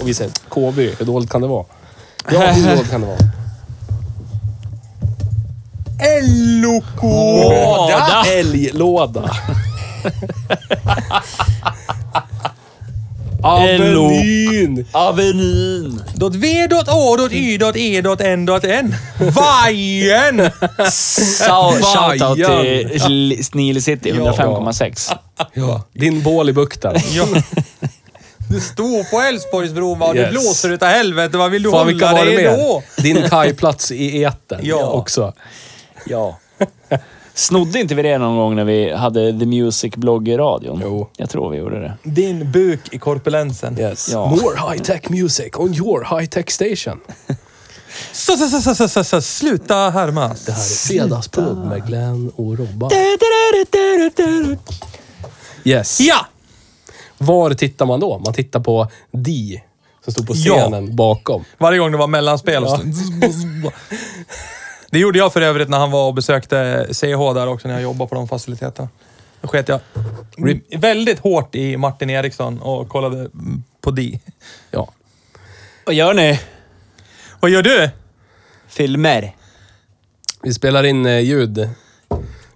Och vi säger KB, hur dåligt kan det vara? Ja, hur dåligt kan det vara? Låda! Älglåda. Älg- Avenyn. Avenyn. Dot V, dot A, dot Y, dot E, dot N, dot N. Vajen! Sa- Shoutout Vajan. till L- Snil City, 105,6. Ja. Din bål i bukten. Ja. Du står på Älvsborgsbron va? Yes. Du blåser utav helvete. Vad vill du Fan vilka hålla var det dig med? då? Din kajplats i etern Ja. också. Ja. Snodde inte vi det någon gång när vi hade The Music-blogg i radion? Jo. Jag tror vi gjorde det. Din buk i korpulensen. Yes. Ja. More high tech music on your high tech station. Så, så, så, så, så, så, så, sluta härma. Det här är Fredagspub med Glenn och Robban. Yes. Ja! Var tittar man då? Man tittar på Di, som stod på Ja. scenen bakom. Varje gång det var mellanspel. och så- Det gjorde jag för övrigt när han var och besökte CH där också, när jag jobbade på de faciliteterna. Då sket jag väldigt hårt i Martin Eriksson och kollade mm, på Di. Ja. Vad gör ni? Vad gör du? Filmer. Vi spelar in eh, ljud.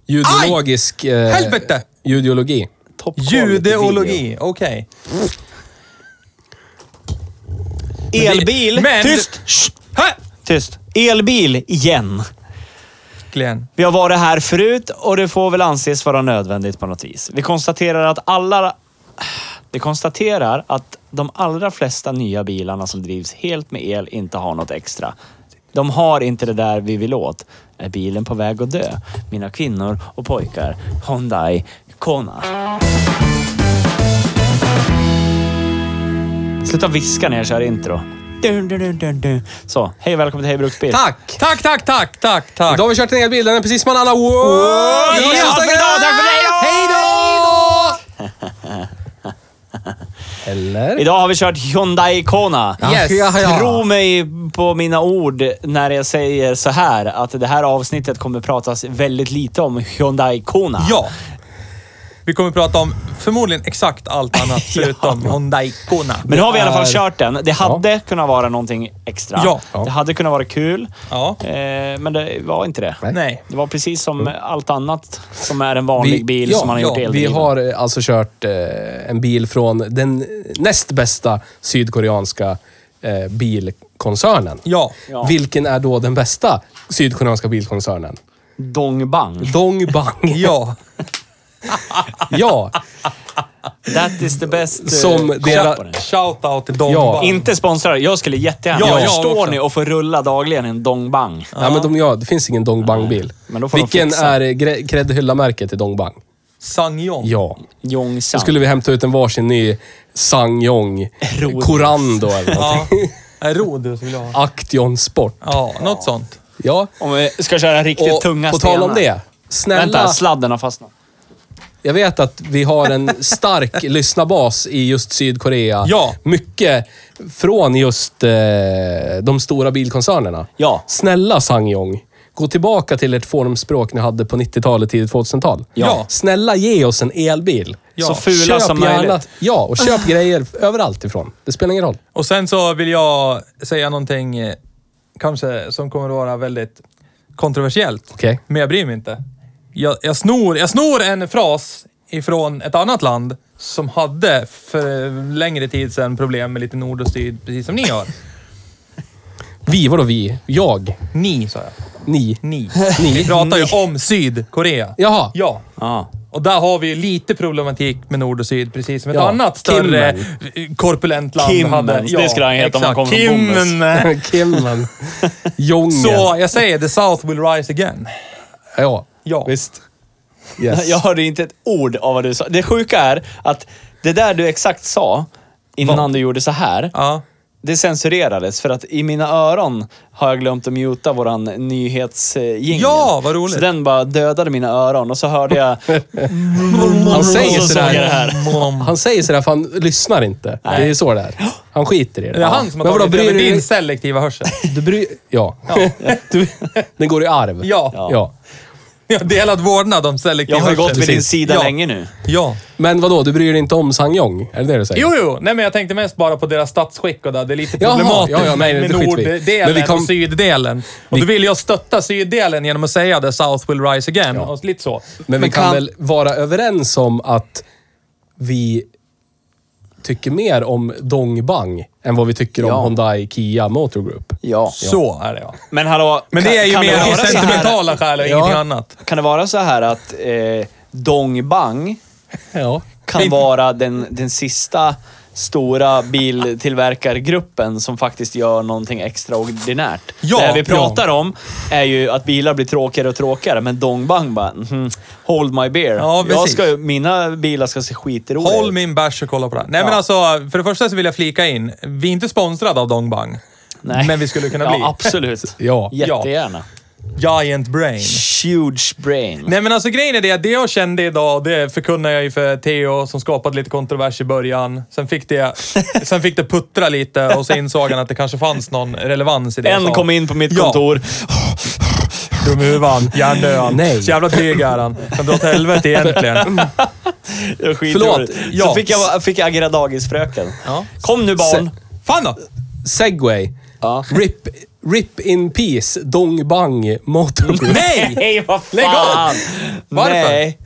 Judeologisk... Eh, Helvete! Judeologi. Top Judeologi, okej. Elbil. Men- Tyst! Shh. Här! Tyst. Elbil igen. Glenn. Vi har varit här förut och det får väl anses vara nödvändigt på något vis. Vi konstaterar att alla... Vi konstaterar att de allra flesta nya bilarna som drivs helt med el inte har något extra. De har inte det där vi vill åt. Är bilen på väg att dö? Mina kvinnor och pojkar. Hyundai Kona. Sluta viska när jag kör intro. Dun, dun, dun, dun, dun. Så, hej välkommen till Hej Bruksbil. Tack! Tack, tack, tack, tack, tack. Då har vi kört en hel bild. Den är precis som alla andra. Wow! Ja, Vi hörs nästa tack för idag, gång! tack för dig! Hej då! Eller? Idag har vi kört Hyundai Kona. Yes. Ja, ja. Tro mig på mina ord när jag säger så här att det här avsnittet kommer pratas väldigt lite om Hyundai Kona. Ja. Vi kommer prata om förmodligen exakt allt annat förutom Hyundai Kona. Men nu har vi i alla fall är- kört den. Det hade kunnat vara någonting extra. Ja. Ja. Det hade kunnat vara kul. Ja. Eh, men det var inte det. Nej. Det var precis som Mm. allt annat som är en vanlig Vi- bil ja, som man har ja, gjort vi Vi eldriven. har eh, alltså kört eh, en bil från den näst bästa sydkoreanska eh, bilkoncernen. Ja. Ja. Vilken är då den bästa sydkoreanska bilkoncernen? Dongbang. Dongbang. Ja. ja, That is the best... eh, Som kolla deras- på den. Shoutout till dem. Ja. bara. Inte sponsrade. Jag skulle jättegärna... Ja, Ja, jag förstår också. ni att få rulla dagligen en dongbang. Nej, men de, ja, det finns ingen Dongbang-bil. Men då får de Vilken fixa. är gre- gräddhyllamärket till Dongbang? Sangyong. Ja. Då Jongsan. skulle vi hämta ut en varsin ny Sangyong, Rhodes. Corando eller något. Ja. Är Rodus vill jag ha. Action Sport. Ja, något sånt. Ja. Om vi ska köra riktigt Och tunga på stenar. tal om det. Snälla, Vänta, sladden har fastnat. jag vet att vi har en stark lyssnarbas i just Sydkorea. Ja. Mycket från just eh, de stora bilkoncernerna. Ja. Snälla Sangyong, gå tillbaka till ert formspråk ni hade på 90-talet, tidigt 2000-tal. Ja. Snälla ge oss en elbil. Ja. Så fula som möjligt. Ja, och köp grejer överallt ifrån. Det spelar ingen roll. Och sen så vill jag säga någonting eh, kanske som kommer att vara väldigt kontroversiellt. Okej. Men jag bryr mig inte. Jag, jag, snor, jag snor en fras ifrån ett annat land som hade för längre tid sedan problem med lite nord och syd, precis som ni har. Vi, vadå vi? Jag? Ni, sa jag. Ni? Ni. Vi Ni? pratar ju om Sydkorea. Jaha. Ja. Ja. Och där har vi lite problematik med Nord och Syd, precis som ett Ja, annat större eh, korpulent land Kimmens, hade. det skulle han heta om han exakt. kom från Bommes. Kimmen. Kimmen. Jongen. Så jag säger, the South will rise again. Ja. Ja. Visst. Yes. Jag hörde inte ett ord av vad du sa. Det sjuka är att det där du exakt sa innan du gjorde så här, Ja. det censurerades. För att i mina öron har jag glömt att muta våran nyhetsjingel. Ja, vad roligt. Så den bara dödade mina öron och så hörde jag... Han säger Och så såg sådär. jag det här. Han säger sådär för han lyssnar inte. Det är så det är. Han skiter i det. Det är han som har tagit över din selektiva hörsel. Du bryr... Ja. Du, den går i arv. Ja. ja. Jag har delad vårdnad om selektiv Jag har ju gått vid hörsel. din sida Ja. länge nu. Ja. Men vadå, du bryr dig inte om Sangyong? Är det det du säger? Jo, jo. Nej, men jag tänkte mest bara på deras statsskick och där. Det är lite Jaha, problematiskt ja, ja, nej, med det skiter vi i. Men norddelen vi kom- och syddelen. Och då vill jag stötta syddelen genom att säga the South will rise again. Och lite så. Men vi Men kan, kan- väl vara överens om att vi tycker mer om Dongbang än vad vi tycker Ja. om Hyundai Kia Motor Group. Ja. Så är det, ja. Men hallå, Men det kan- är ju kan mer vara av så här- sentimentala skäl och Ja. ingenting annat. Kan det vara så här att eh, Dong Bang Ja. kan vara den, den sista stora biltillverkargruppen som faktiskt gör någonting extraordinärt. Ja, det vi ja. pratar om är ju att bilar blir tråkigare och tråkigare, men Dong Bang bara, mhm, hold my beer. Ja, Jag precis. ska, mina bilar ska se skitroliga Håll ut. min bärs och kolla på det här. Nej, men Ja. alltså, för det första så vill jag flika in. Vi är inte sponsrade av Dongbang. Nej. Men vi skulle kunna bli. Ja, absolut. Ja. Jättegärna. Giant brain. Huge brain. Nej men alltså grejen är det att det jag kände idag, det förkunnar jag ju för Theo som skapade lite kontrovers i början. Sen fick det, sen fick det puttra lite och så insåg han att det kanske fanns någon relevans i det jag En sa. kom in på mitt Ja. kontor. Dum i huvan, hjärndöd. Nej. Så jävla dryg är han. Kan dra åt helvete egentligen. Det var Förlåt, skitroligt. ja. Så fick jag, fick jag agera dagisfröken. Ja. Kom nu barn. Fan då! Segway. Ja. Rip, rip in peace Dongbang Motor Group. Nej! Nej, vad fan! Lägg av! Varför? Nej.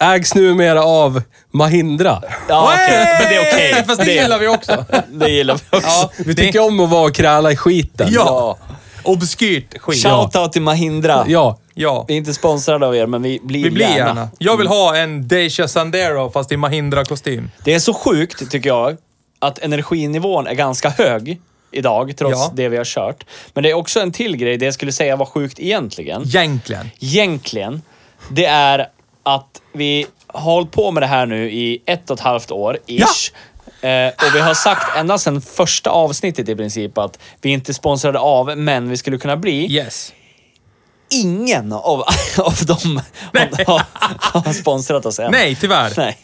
Ägs numera av Mahindra. Ja, okej. Nej! Men det är okej. Fast det, gillar vi också. Det gillar vi också. Ja, Vi tycker om att vara och kräla i skiten. Ja. Obskyrt skit. Shoutout till Mahindra. Ja. Ja. Vi är inte sponsrade av er, men vi blir, Vi blir gärna. gärna. Jag vill ha en Dacia Sandero fast i Mahindra-kostym. Det är så sjukt, tycker jag, att energinivån är ganska hög idag, trots Ja. det vi har kört. Men det är också en till grej, det jag skulle säga var sjukt egentligen. Egentligen. egentligen, det är att vi har hållit på med det här nu i ett och ett halvt år, ish. Eh, och vi har sagt ända sedan första avsnittet i princip att vi inte är sponsrade av, men vi skulle kunna bli. Yes. Ingen av, av dem har, har, har sponsrat oss än. Nej, tyvärr. Nej.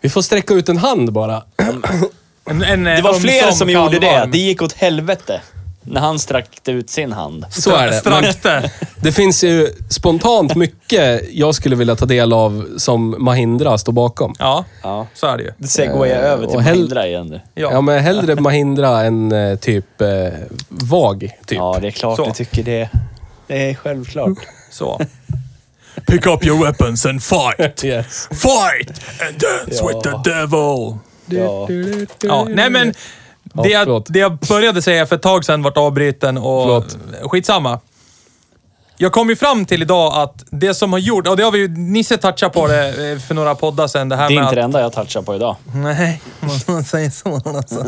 Vi får sträcka ut en hand bara. En, en, Det var fler som gjorde det. Det gick åt helvete när han sträckte ut sin hand. Så är det. Men Strakte. det finns ju spontant mycket jag skulle vilja ta del av som Mahindra står bakom. Ja, Ja. så är det ju. Det segwayar jag över till och hell- Mahindra igen nu. Ja. Ja. men hellre Mahindra än eh, typ eh, VAG. Typ. Ja, det är klart Så. du tycker det. Det är självklart. Så. Pick up your weapons and fight. Yes. Fight and dance with the devil. Ja. Ja, nej men. Det Ja, jag, förlåt. det jag började säga för ett tag sedan vart avbruten och Förlåt. skitsamma. Jag kom ju fram till idag att det som har gjort, och det har vi ju, Nisse touchade på det eh, för några poddar sedan, det här Det är med inte att det enda jag touchar på idag. Nej, man säger så. Alltså.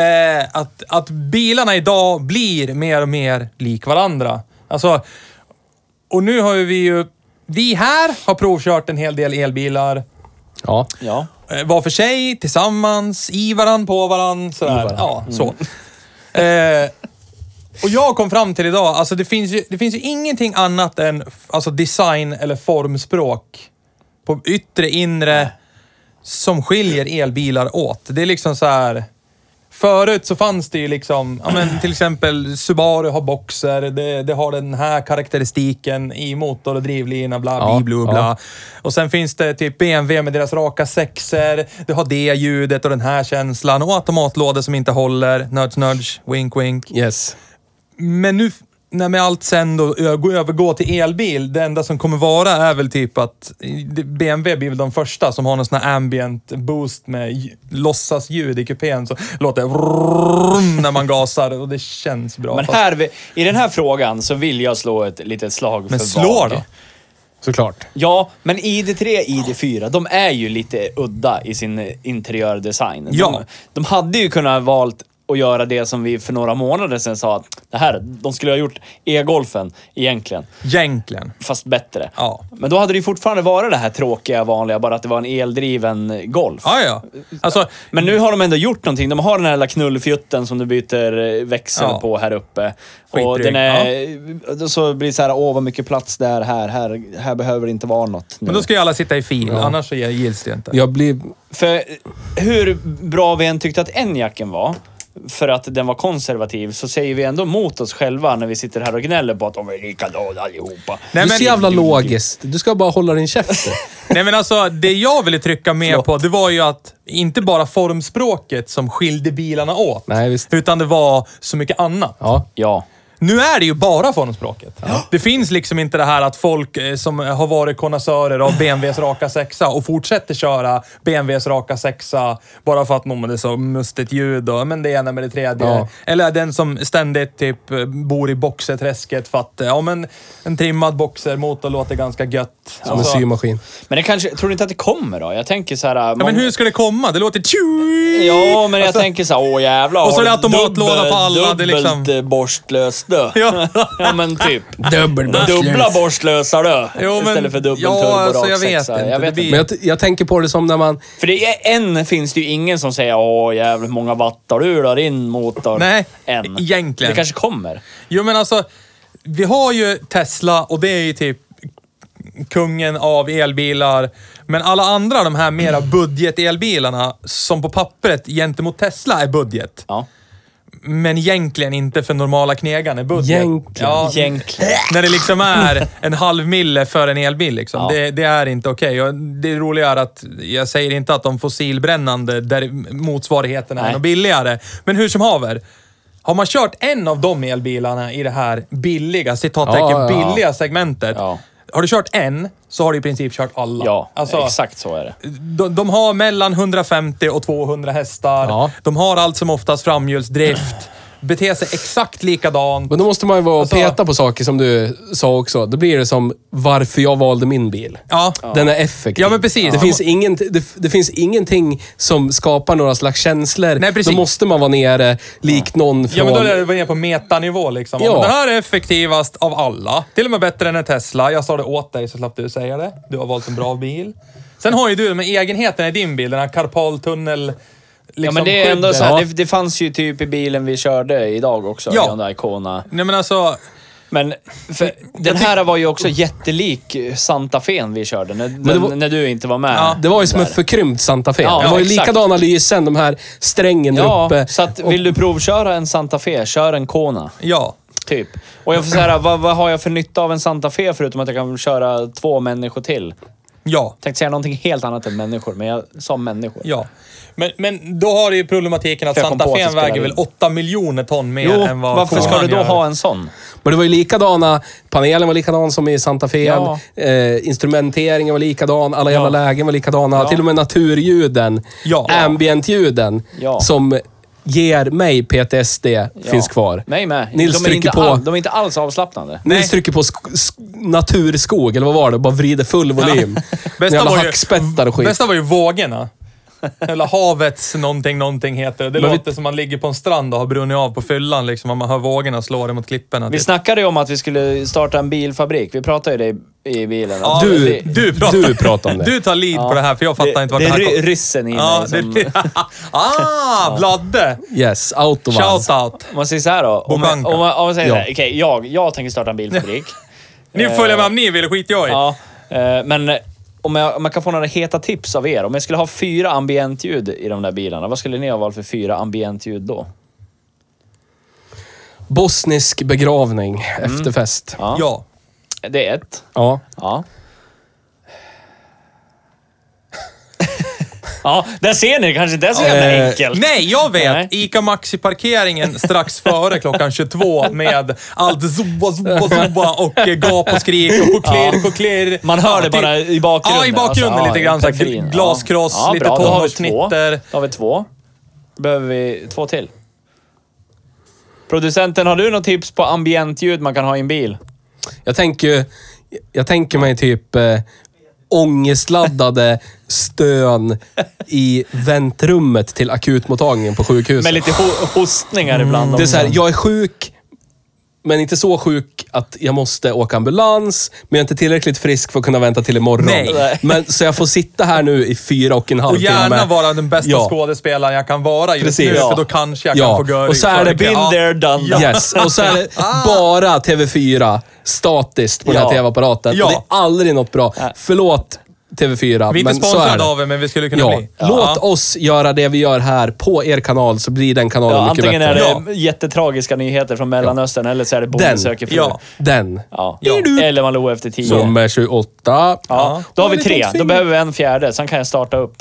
Eh, att, att bilarna idag blir mer och mer lik varandra. Alltså, och nu har ju vi ju... Vi här har provkört en hel del elbilar. Ja. Ja. eh, Var för sig, tillsammans, i varann, på varann. Sådär. I varann. Mm. Ja, så. Eh, och jag kom fram till idag, alltså det finns ju, det finns ju ingenting annat än f- alltså design eller formspråk på yttre, inre som skiljer elbilar åt. Det är liksom så här. Förut så fanns det ju liksom, ja men till exempel Subaru har boxer, det, det har den här karaktäristiken i motor och drivlina, bla, bla, Ja, bla, bla. Och sen finns det typ BMW med deras raka sexer, det har det ljudet och den här känslan och automatlådor som inte håller, nudge, nudge, wink, wink. Yes. Men nu, när med allt sen då ö- gå- övergå till elbil, det enda som kommer vara är väl typ att BMW blir väl de första som har någon sån här ambient boost med lj- låtsasljud i kupén. Så låter det vrrrrrrrrrrrrrrrrrrrrrrrrrrrrrrrrrrrrrrrr när man gasar och det känns bra. Men fast- här, vi- i den här frågan så vill jag slå ett litet slag men för slå VAG. då! Såklart. Ja, men ID3 ID4, de är ju lite udda i sin interiördesign. De, Ja. de hade ju kunnat valt att göra det som vi för några månader sedan sa att det här, de skulle ha gjort e-golfen egentligen, Egentligen. fast bättre. Ja. Men då hade det ju fortfarande varit det här tråkiga vanliga, bara att det var en eldriven golf. Ja, ja. Alltså, Men nu har de ändå gjort någonting. De har den här lilla knullfjutten som du byter eh, växel Ja. på här uppe. Och Skitdryg, den är... då Så blir det så här, åh vad mycket plats där, här, här, här behöver det inte vara något. Nu. men då ska ju alla sitta i fil, annars så gills det inte. Jag blir... För eh, hur bra vi än tyckte att enjacken var, för att den var konservativ, så säger vi ändå mot oss själva när vi sitter här och gnäller på att de är likadana allihopa. Nej, du är men- så jävla logiskt. Du ska bara hålla din käft. Nej men alltså, det jag ville trycka med på, det var ju att inte bara formspråket som skilde bilarna åt. Nej, visst. Utan det var så mycket annat. Ja. Ja. Nu är det ju bara formspråket. Det finns liksom inte det här att folk eh, som har varit konnässörer av BMWs raka sexa och fortsätter köra BMWs raka sexa bara för att "Nå, men det är så mustigt ljud och men det ena med det tredje. Ja. Eller den som ständigt typ eh, bor i boxerträsket för att eh, ja, men en trimmad boxermotor låter ganska gött. Som en Alltså- symaskin. Men det kanske, tror du inte att det kommer då? Jag tänker så här... Ja, men hur ska det komma? Det låter tjui! Ja, men jag tänker så här, åh jävlar. Alltså- Och så har är det du automatlåda dubbel- på alla, det är liksom- Dubbelt eh, borstlös dö. Ja. ja, men typ. Dubbelbörs. Dubbla borstlösa dö. Jo, men- Istället för dubbel ja, turbo alltså, rak jag vet sexa. inte. Jag Det vet blir- Men jag, t- jag tänker på det som när man... För det är, än finns det ju ingen som säger åh jävligt många watt har du då, din motor? Nej, än. egentligen. Det kanske kommer. Jo, men alltså, vi har ju Tesla och det är ju typ kungen av elbilar. Men alla andra, de här mera budget-elbilarna, som på pappret gentemot Tesla är budget, Ja. men egentligen inte för normala knegaren är budget. Egentligen. Ja, Egentligen. När det liksom är en halv mille för en elbil. Liksom. Ja. Det, det är inte okej. Och Det roliga är att jag säger inte att de fossilbrännande där motsvarigheten är Nej. något billigare. Men hur som haver. Har man kört en av de elbilarna i det här billiga, citattecken, Ja, ja, ja. billiga segmentet. Ja. Har du kört en så har du i princip kört alla. Ja, Alltså, exakt så är det. de, de har mellan 150 och 200 hästar. Ja. De har allt som oftast framhjulsdrift. Beter sig exakt likadant. Men då måste man ju vara och Alltså- peta på saker som du sa också. Då blir det som varför jag valde min bil. Ja. Den är effektiv. Ja, men precis. Det, Ja. finns ingen, det, det finns ingenting som skapar några slags känslor. Nej, precis. Då måste man vara nere likt någon från... Ja, men då är det nere på metanivå liksom. Ja. Ja. Det här är effektivast av alla. Till och med bättre än en Tesla. Jag sa det åt dig så slapp du säga det. Du har valt en bra bil. Sen har ju du de här egenheterna i din bil, den här karpaltunnel... Liksom, ja, men det är ändå skyddet. så här, Ja. det, det fanns ju typ i bilen vi körde idag också, Ja. ja. Hyundai Kona. Nej men alltså, Men för, den här var ju också jättelik Santa Fen vi körde, när, det var- när du inte var med. Ja, Det var ju som där. en förkrympt Santa Fe. Ja, det var ju exakt. likadana lysen, de här strängen Ja, där uppe. så att, Och- vill du provköra en Santa Fe, kör en Kona. ja. Typ. Och jag får säga, vad, vad har jag för nytta av en Santa Fe förutom att jag kan köra två människor till? Ja. Tänkte säga någonting helt annat än människor, men jag sa människor. Ja. Men, men då har du ju problematiken att För jag kom Santa på att det Fe spelar väger väl in. 8 miljoner ton mer Jo, än vad varför ska Konan du då gör. ha en sån? Men det var ju likadana, panelen var likadan som i Santa Fe. Ja. Eh, instrumenteringen var likadan, alla jävla Ja. lägen var likadana. Ja. Till och med naturljuden, Ja. ambientljuden Ja. som ger mig PTSD Ja. finns kvar. Mig med. Nils de, är trycker inte på... All, de är inte alls avslappnade. Nej. Nils trycker på sk- sk- naturskog, eller vad var det? Bara vrider full volym. Bästa jävla var, hackspettar ju, och skit. bästa var ju vågorna. Eller havets någonting, någonting heter det. Det Men vi- låter som man ligger på en strand och har brunnit av på fyllan liksom. och Man hör vågorna slå det mot klipporna. Vi typ. snackade ju om att vi skulle starta en bilfabrik. Vi pratade ju det i, i bilen. Ja, Du- det- du, pratar, du pratar om det. Du tar lead på det här för jag fattar det, inte vart det det, här är kom. ry- ryssen liksom. i Ja, mig. det, Som, ah, Vladde! Yes, autobahn. Shout out! om man säger så här då. Om, man- Bobanka. om, man- om man säger Ja. så här, okej, jag, jag tänker starta en bilfabrik. Ni får följa med om ni vill, skit jag i. Ja, eh, men eh, om jag, om jag kan få några heta tips av er. Om jag skulle ha fyra ambientljud i de där bilarna, vad skulle ni ha valt för fyra ambientljud då? Bosnisk begravning efter fest. Mm. Ja. Ja. Det är ett. Ja. Ja. Ja, där ser ni. Det kanske inte är så jävla Eh, enkelt. Nej, jag vet! Nej. Ica Maxi-parkeringen strax före klockan 22 med allt zumba, zumba, zumba och eh, gap och skrik och choklirr, choklirr. Man hör det Ja, till- bara i bakgrunden. Ja, i bakgrunden alltså. Ja, lite i grann. Så här, periferin. gl- glaskross, Ja. Ja, lite bra. Då har vi två. tonårsknitter. Då har vi två. behöver vi två till. Producenten, har du något tips på ambientljud man kan ha i en bil? Jag tänker, ju- jag tänker mig typ eh, ångestladdade stön i väntrummet till akutmottagningen på sjukhuset. Med lite ho- hostningar ibland. Mm. Det är så här, jag är sjuk, men inte så sjuk att jag måste åka ambulans, men jag är inte tillräckligt frisk för att kunna vänta till imorgon. Nej. Men, så jag får sitta här nu i fyra och en halv Och gärna timme. vara den bästa Ja. skådespelaren jag kan vara just Precis. nu, Ja. för då kanske jag Ja. kan få göra Och så är det för- bild Ja. there, done that. Yes, och så är det bara TV4 statiskt på den Ja. här TV-apparaten. Ah. Ja. Det är aldrig något bra. Förlåt TV4, Vi är inte men så är sponsrade det. av er, men vi skulle kunna Ja. bli. Låt oss göra det vi gör här på er kanal, så blir den kanalen Ja, mycket antingen bättre. är det Ja. jättetragiska nyheter från Mellanöstern eller så är det Bonde Den. söker fru. Ja. Den. Ja. Eller Malou efter tio. Som är 28. Ja. Då har vi Ja, tre. lite Då fint. behöver vi en fjärde. Sen kan jag starta upp.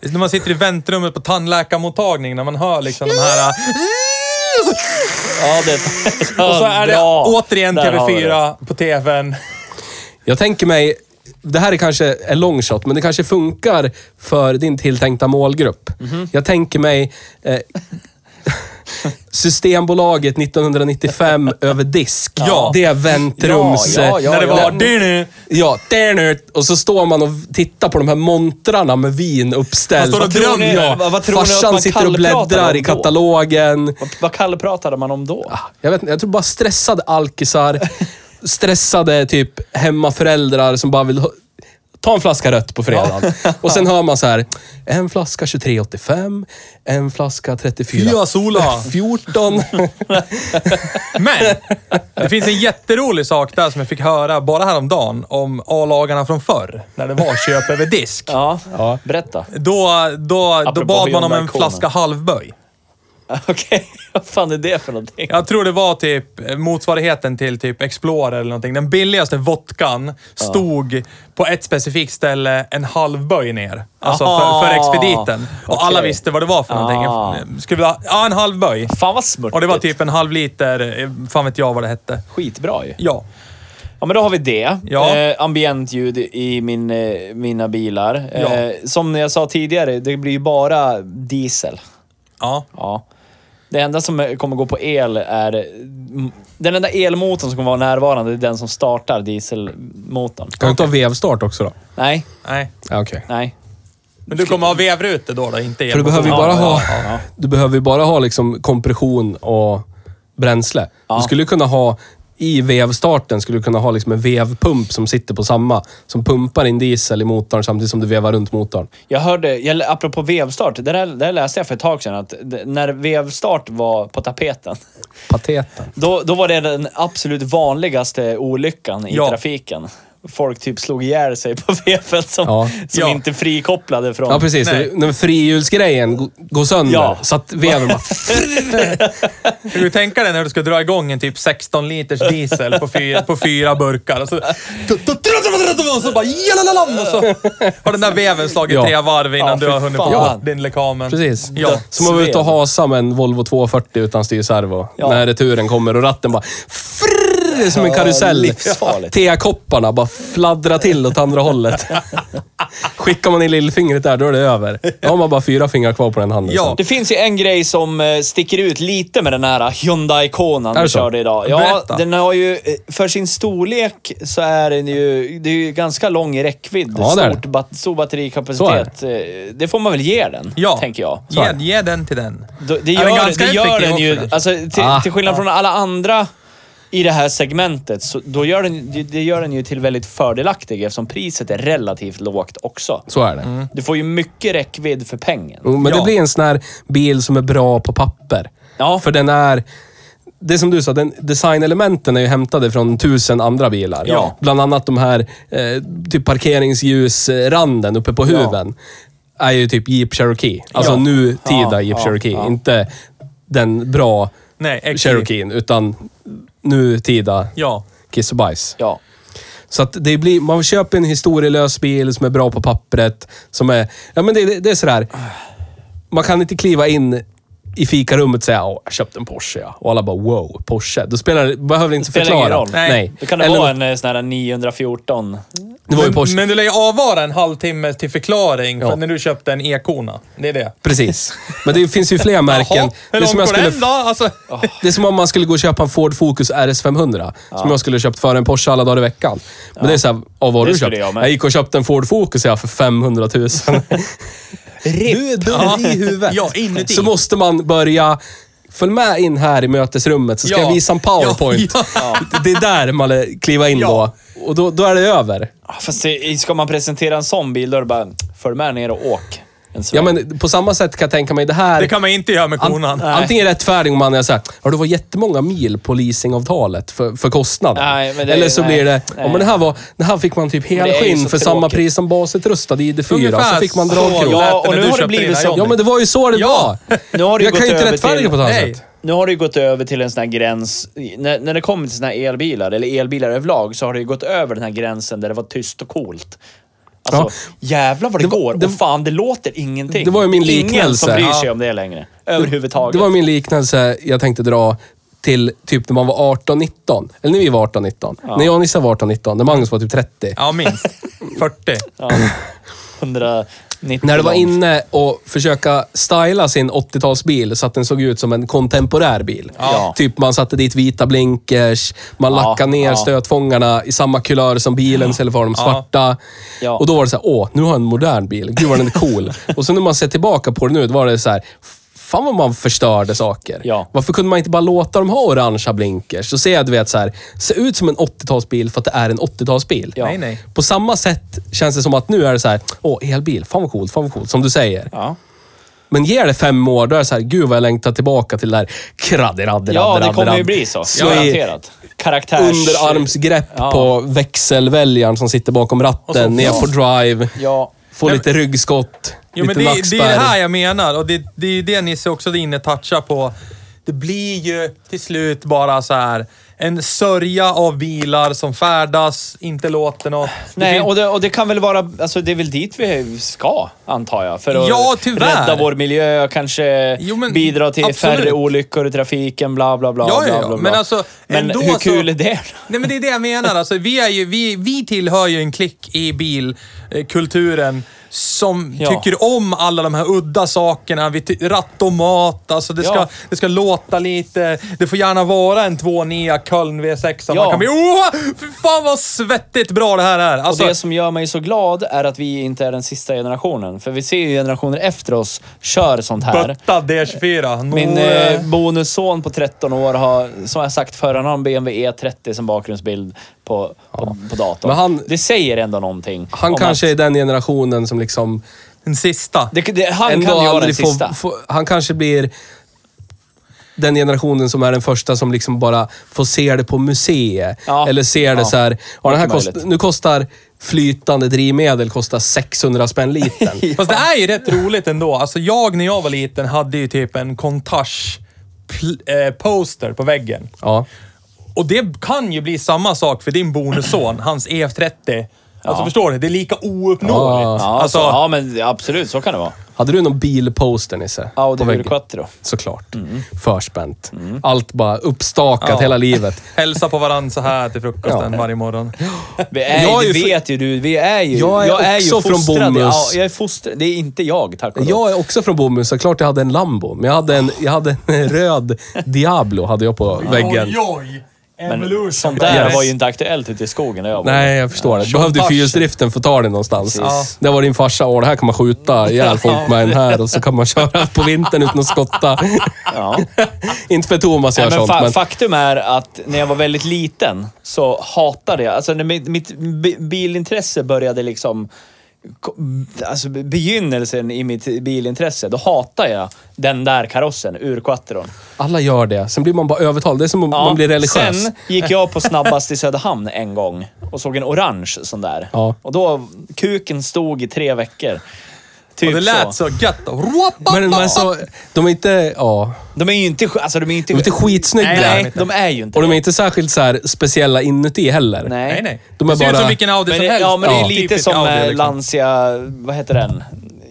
När man sitter i väntrummet på tandläkarmottagningen, när man hör liksom de här... Ja, det Och så är det Bra. återigen Där har vi det. TV4 på TVn. Jag tänker mig, det här är kanske en long shot, men det kanske funkar för din tilltänkta målgrupp. Mhm. Jag tänker mig eh, Systembolaget 1995 över disk. Ja. Det är eh, väntrums... Ja, ja, när det ja. var... Ja, där nu. Och så står man och tittar på de här montrarna med vin uppställt. Man står och drömmer. Ja. Vad- vad tror ni att man Farsan sitter och kallpratar bläddrar om i då? katalogen. Vad, vad kallpratade man om då? Jag vet inte, jag tror bara stressade alkisar, stressade typ hemmaföräldrar som bara vill ha- ta en flaska rött på fredagen. Och sen hör man så här, en flaska 23,85, en flaska 34. Fia sola. 14. Men! Det finns en jätterolig sak där som jag fick höra bara häromdagen om A-lagarna från förr, när det var köp över disk. Ja, berätta. Då, då, då Apropå bad man om en Hyundai-konen. flaska halvböj. Okej, vad fan är det för någonting? Jag tror det var typ motsvarigheten till typ Explorer eller någonting. Den billigaste vodkan stod på ett specifikt ställe en halv böj ner. Alltså Ah, för, för expediten. Och okej. alla visste vad det var för någonting. Ah. Skulle vi ha, ja, en halv böj. Fan vad smörtigt. Och det var typ en halv liter, eh, fan vet jag vad det hette. Skitbra ju. Ja. Ja, men då har vi det. Ja. Eh, ambientljud i min, eh, mina bilar. Eh, som jag sa tidigare, det blir ju bara diesel. Ja. Ja. Det enda som kommer gå på el är... Den enda elmotorn som kommer vara närvarande är den som startar dieselmotorn. Kan du inte ha vevstart också då? Nej, Nej. Ja, okej. nej. Men du kommer ha vevrutor då, då? Inte För du elmotor. behöver ju bara Ja, ha, ja, ja. du behöver ju bara ha liksom kompression och bränsle. Du skulle kunna ha, i vevstarten skulle du kunna ha liksom en vevpump som sitter på samma, som pumpar in diesel i motorn samtidigt som du vevar runt motorn. Jag hörde, jag, apropå vevstart, det där, det där läste jag för ett tag sedan, att d- när vevstart var på tapeten, Pateten. då, då var det den absolut vanligaste olyckan i Ja. trafiken. Folk typ slog ihjäl sig på vevet som, Ja. som Ja. inte frikopplade från... Ja, precis. Nej. När frihjulsgrejen g- går sönder. Ja. Så att veven bara... Kan du tänka dig när du ska dra igång en typ 16 liters diesel på fyra, på fyra burkar? Och så, och så bara jalalalala, och så har den där veven slagit Ja. tre varv innan Ja, du fy har hunnit fan. få Ja. din lekamen. Precis. Ja. Som att vara ute och Sven. hasa med en Volvo 240 utan styrservo. Ja. När returen kommer och ratten bara... Frrrr, det är som en Ja, karusell. livsfarligt. Tekopparna bara fladdrar till åt andra hållet. Skickar man in lillfingret där, då är det över. Då har man bara fyra fingrar kvar på den handen. Ja. sen. Det finns ju en grej som eh, sticker ut lite med den här Hyundai-konan Är vi det så? körde idag. Ja, Berätta. den har ju... eh, För sin storlek så är den ju... Det är ju ganska lång räckvidd. Ja, det är Stort, bat, stor batterikapacitet. Eh, Det får man väl ge den, Ja. tänker jag. Så Ge, är det. ge den till den. Då- Det Ja, gör, den är ja, ganska det gör effektiv den också, ju... kanske. Alltså, till, Ah. till skillnad från alla andra i det här segmentet, så då gör den, det- det gör den ju till väldigt fördelaktig eftersom priset är relativt lågt också. Så är det. Du får ju mycket räckvidd för pengen. Jo, Men Ja. det blir en sån här bil som är bra på papper. Ja. För den är... Det som du sa, den, designelementen är ju hämtade från tusen andra bilar. Ja. Bland annat de här eh, typ parkeringsljusranden uppe på huven. Är ju typ Jeep Cherokee. Alltså Ja. nutida Ja, Jeep ja, Cherokee. ja. Inte den bra Nej, äcklig. Cherokeen, utan nutida Ja. kiss och bajs. Ja. Så att det blir, man köper en historielös bil som är bra på pappret. Som är, ja men det, det, det är sådär. Man kan inte kliva in i fikarummet och säga Åh, jag köpte en Porsche ja. Och alla bara wow, Porsche. Då spelar det, behöver det inte spelar ingen förklara. roll. Nej. Nej. Då kan det Eller- vara en eh, sån här 914. Det var ju en Men, Porsche. men du lär ju avvara en halvtimme till förklaring för Ja. när du köpte en e-kona. Det är det. Precis. Men det finns ju fler märken. Jaha, Det hur är långt som jag går skulle- den då? Alltså, Det är som om man skulle gå och köpa en Ford Focus RS500. Som jag skulle ha köpt före en Porsche alla dagar i veckan. Men det är såhär, av vad har Det du skulle köpt? jag Jag, med. gick och köpte en Ford Focus ja, för 500 000. du är dum Ja. i huvudet. Ja, inuti. Så måste man börja... Följ med in här i mötesrummet så ska Ja. jag visa en powerpoint. Ja, Det är där man lär kliva in Ja. då. Och då, då är det över. Ah, Fast det- ska man presentera en sån bil, då är det bara följ med ner och åk. En sväng. Ja, men på samma sätt kan jag tänka mig det här... det kan man inte göra med An- konan. antingen rättfärdig om man är såhär, ja det var jättemånga mil på leasingavtalet för, för kostnaden. Nej, men det- Eller så nej, blir det, nej. ja men det här, var, det här fick man typ det är ju helskinn så för samma tråkigt. pris som basutrustad ID4. Ungefär Så fick man så dragkrok. lät det Ja, och när du nu har det köpte blivit dina så. jobb. Ja, men det var ju så det Ja. var. Nu har det jag gått kan ju inte över rättfärdiga till- på ett annat Nej. sätt. Nu har det ju gått över till en sån här gräns. När, när det kommer till såna här elbilar, eller elbilar överlag, så har det ju gått över den här gränsen där det var tyst och coolt. Alltså, jävlar vad det, går. det- och fan, det låter ingenting. Det var ju min Ingen liknelse. som bryr sig Ja. om det längre. Överhuvudtaget. Det var min liknelse jag tänkte dra till typ när man var 18-19. Eller när vi var 18-19. När jag och Nissa var 18-19. När Magnus var typ 30. Ja, minst. 40. Ja. 190 När du var lång. inne och försöka styla sin 80-talsbil så att den såg ut som en kontemporär bil. Ja. Typ man satte dit vita blinkers, man Ja, lackade ner ja. stötfångarna i samma kulör som bilen istället för att ha dem svarta. Ja. Och då var det så här, åh, nu har jag en modern bil. Gud vad den är cool. och sen när man ser tillbaka på det nu, då var det så här, fan vad man förstörde saker. Ja. Varför kunde man inte bara låta dem ha orangea blinkers? Så ser jag, du vet, så här, se ut som en 80-talsbil för att det är en 80-talsbil. Ja. Nej, nej. På samma sätt känns det som att nu är det så här, åh, elbil, fan vad coolt, fan vad coolt, som du säger. Ja. Men ger det fem år, då är det så här, gud vad jag längtar tillbaka till det där kradderadderad. Ja, det kommer ju bli så. Så i Garanterat. Karaktärs... underarmsgrepp Ja. på växelväljaren som sitter bakom ratten, ner på drive, Ja. får Nej, lite ryggskott, Jo, men lite det, det nackspärr. är det här jag menar och det, det är ju det Nisse också är inne touchar på. Det blir ju till slut bara så här en sörja av bilar som färdas, inte låter något. Det Nej, fin- och det, och det kan väl vara... Alltså det är väl dit vi ska, antar jag. För att Ja, tyvärr. rädda vår miljö, kanske Jo, men bidra till absolut. färre olyckor i trafiken, bla bla bla. Ja, ja, bla, ja. bla, bla. Men alltså, men ändå hur så- kul är det? Nej, men det är det jag menar. Alltså, vi, är ju, vi, vi tillhör ju en klick i bilkulturen som Ja. tycker om alla de här udda sakerna. Vi ty- rattomat, alltså det ska, Ja. det ska låta lite. Det får gärna vara en 2.9 Köln V6. Man Ja. kan bli åh, fy fan vad svettigt bra det här är. Och Alltså, det som gör mig så glad är att vi inte är den sista generationen. För vi ser ju generationer efter oss kör sånt här. Bötta D24. Nå, Min eh, eh, bonusson på 13 år har, som jag sagt förr, han har en BMW E30 E som bakgrundsbild på, på, på datorn. Men han- det säger ändå någonting. Han om kanske att- är den generationen som liksom den sista. det, det, Han ändå kan ju vara den aldrig få, sista. få... Han kanske blir den generationen som är den första som liksom bara får se det på museet. Ja. Eller ser det Ja. så här, ja, den här Mycket kost, möjligt. nu kostar flytande drivmedel kostar 600 spänn litern. Fast det är ju rätt roligt ändå. Alltså jag när jag var liten hade ju typ en Contage pl- eh, poster på väggen. ja. Och det kan ju bli samma sak för din bonusson, hans EF30. Alltså förstår du? Det är lika ouppnåeligt. Ja, alltså, så, ja, men absolut, så kan det vara. Hade du någon bilposter Nisse? Audi på väggen? Hurquattro. Såklart. Mm. Förspänt. Allt bara uppstakat hela livet. Hälsa på varandra så här till frukosten varje morgon. Vi är, Jag är det ju för- vet ju du, vi är ju... Jag är också från fostrad i- Bomhus. Ja, jag är fostrad. Det är inte jag, tack och lov. Jag är också från Bomhus, såklart jag hade en Lambo. Men jag hade en, jag hade en röd Diablo hade jag på väggen. oj! Men sånt där var ju inte aktuellt ute i skogen när jag var. Nej, jag förstår det. Behövde Tjottaschen. fyrhjulsdriften för att ta den någonstans. Ja. Där var din farsa, åh det här kan man skjuta ihjäl folk med den här och så kan man köra på vintern utan att skotta. Ja. Inte för Thomas Nej, gör men sånt, fa men... Faktum är att när jag var väldigt liten så hatade jag... Alltså när mitt, mitt bi- bilintresse började liksom... ko- Alltså be- begynnelsen i mitt bilintresse, då hatade jag den där karossen, urquattron. Alla gör det. Sen blir man bara övertalad. Det är som om Ja, man blir religiös. Sen gick jag på snabbast i Söderhamn en gång och såg en orange sån där. Ja. Och då, kuken stod i tre veckor. och det Typ lät så så. gött. Men, men så, de är inte, ja, De är ju inte, sk- alltså, de är ju inte, de är inte skitsnygga. Nej, nej, de är ju inte Och de är inte särskilt så här speciella inuti heller. Nej. Nej, nej. De är det ser ut bara- som vilken Audi Men som det, helst. ja, men det är Ja. lite Typisk som Audi, eh, liksom. Lancia, vad heter den?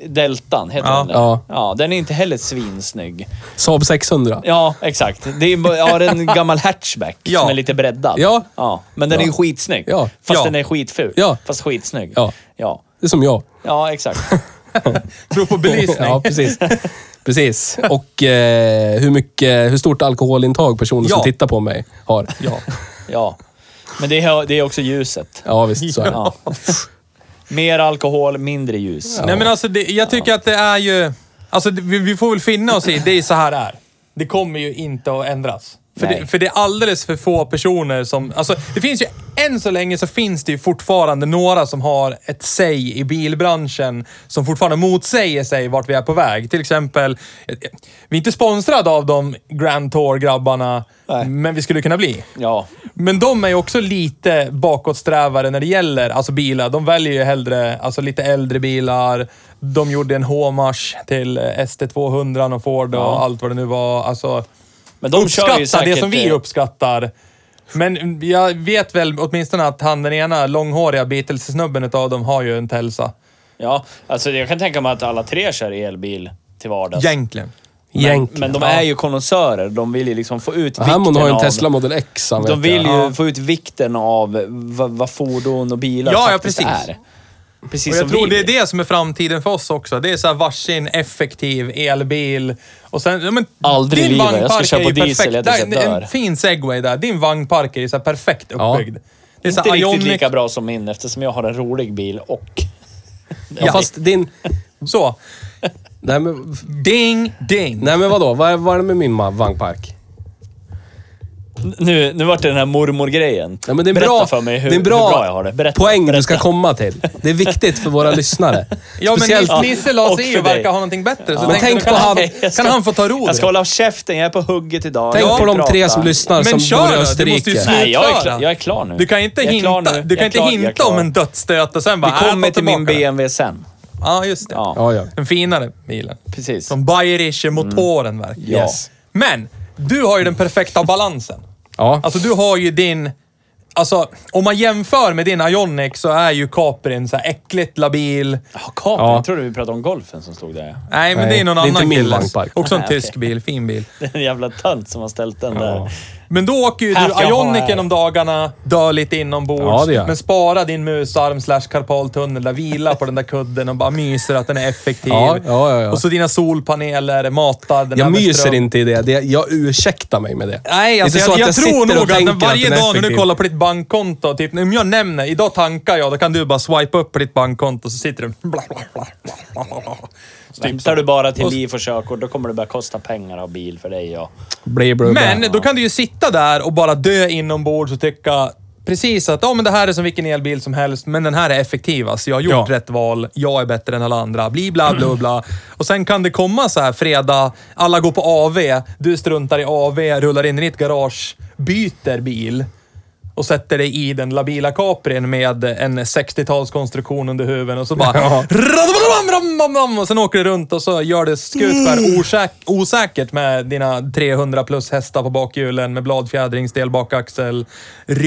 Deltan heter Ja. den. där. Ja. ja. Den är inte heller svinsnygg. Saab 600. Ja, exakt. Det är, bara- ja, det är en gammal hatchback Ja. som är lite breddad. Ja. ja. Men den är ju skitsnygg. Ja. Fast Ja. den är skitful. Ja. Fast skitsnygg. Ja. Ja, Det är som jag. ja exakt. Prov på belysning. Ja, precis. Precis. Och eh, hur, mycket, hur stort alkoholintag personen Ja. som tittar på mig har. Ja, Ja. Men det är, det är också ljuset. ja visst så är det. Ja. Mer alkohol, mindre ljus. Nej men alltså, det, jag tycker att det är ju... Alltså det, vi, vi får väl finna oss i, det är så här det är. Det kommer ju inte att ändras. För Nej. det, för det är alldeles för få personer som... Alltså, det finns ju... Än så länge så finns det ju fortfarande några som har ett säg i bilbranschen som fortfarande motsäger sig vart vi är på väg. Till exempel, vi är inte sponsrade av de Grand Tour-grabbarna, Nej. men vi skulle kunna bli. Ja. Men de är ju också lite bakåtsträvare när det gäller alltså bilar. De väljer ju hellre alltså lite äldre bilar. De gjorde en Homage till eh, ST200 och Ford och allt vad det nu var. Alltså, Men de kör ju uppskatta säkert... eh, det som vi uppskattar. Men jag vet väl åtminstone att han den ena långhåriga Beatles-snubben utav dem har ju en Telsa. Ja, alltså jag kan tänka mig att alla tre kör elbil till vardags. Egentligen. Men, Egentligen. men de är ju konnässörer. De vill ju liksom få ut vikten Hammond har ju en av... Tesla Model X. han De vet vill jag. ju få ut vikten av vad, vad fordon och bilar Ja, ja, faktiskt precis. är. Precis Och som jag tror vi det är vill. det som är framtiden för oss också. Det är så här varsin effektiv elbil. Och sen, ja, men, Aldrig i din livet. Jag ska vagnpark köra är på ju diesel, jag perfekt. hade Där, sett en- dör. en fin segway där. Din vagnpark är ju så här perfekt Ja. uppbyggd. Det är så Inte här riktigt Ioniq. lika bra som min eftersom jag har en rolig bil och... Ja, fast din... Så. Nej men, Ding, ding. nej, men vadå? Vad är, vad är det med min ma- vagnpark? Nu, nu vart det den här mormor-grejen. Nej, men det är en Berätta bra, för mig hur, det är en bra, hur bra jag har det. Berätta. poäng berätta. du ska komma till. Det är viktigt för våra lyssnare. Ja, men Speciellt... Nils- Nisse la och sig i för och verkar dig. ha någonting bättre. Så Men tänkte tänk jag, kan på han, han- Jag ska- Kan han få ta råd? Jag ska hålla käften, jag är på hugget idag. Tänk Jag på de pratar. tre som lyssnar Men som kör bor då, i du måste ju Österrike. sluta. Nej, jag är, Utföra. klar, jag är klar nu. Du kan inte Jag är klar hinta, nu. du Jag kan är inte klar, jag är hinta om klar. en dödsstöt och sen bara... Vi "Äh, ta kommer till min tillbaka den." BMW sen. Ja, just det. Ja. Ja, ja. Den finare bilen. Precis. Som bayerische Mm. motoren verkar. Ja. Yes. Men, du har ju den perfekta balansen. Ja. Alltså du har ju din... Alltså, om man jämför med din Ioniq så är ju Caprin så här äckligt labil. Ja, Capri. Ja. Jag trodde vi pratade om golfen som stod där. Nej, men Nej, det är någon det är inte annan min kille. vagnpark. Också en Nej, tysk okej. bil, fin bil. Det är en jävla tönt som har ställt den där. typ Men då åker ju Här ska du jag ha Ioniqen här. om dagarna, dör lite inombords. Ja, det gör jag. men spara din musarm slash karpaltunnel där, vila på den där kudden och bara myser att den är effektiv. Ja, ja, ja, ja. Och så dina solpaneler matar den här Jag med myser ström. inte i det. det. Jag ursäktar mig med det. Det Nej, är alltså inte jag, så jag, sitter tror och nog att tänker den varje den är dag när du effektiv. kollar på ditt bankkonto, typ om jag nämner, idag tankar jag, då kan du bara swipa upp på ditt bankkonto så sitter du... Bla, bla, bla, bla, bla, bla. Så typ så. Väntar du bara till liv och körkort, då kommer det börja kosta pengar av bil för dig. Ja. Bli, bli, bli. Men då kan du ju sitta där och bara dö inombords och tycka precis att ja, men det här är som vilken elbil som helst, men den här är effektivast. Jag har gjort Ja. rätt val, jag är bättre än alla andra, bli bla bla bla. Mm. Och sen kan det komma så här fredag, alla går på AV, du struntar i AV, rullar in i ditt garage, byter bil och sätter dig i den labila Caprin med en 60-talskonstruktion under huven och så bara... Ja. radam, radam, radam, radam, Och sen åker du runt och så gör det skutskär Mm. osäk- osäkert med dina 300 plus hästar på bakhjulen med bladfjädring, stel bakaxel,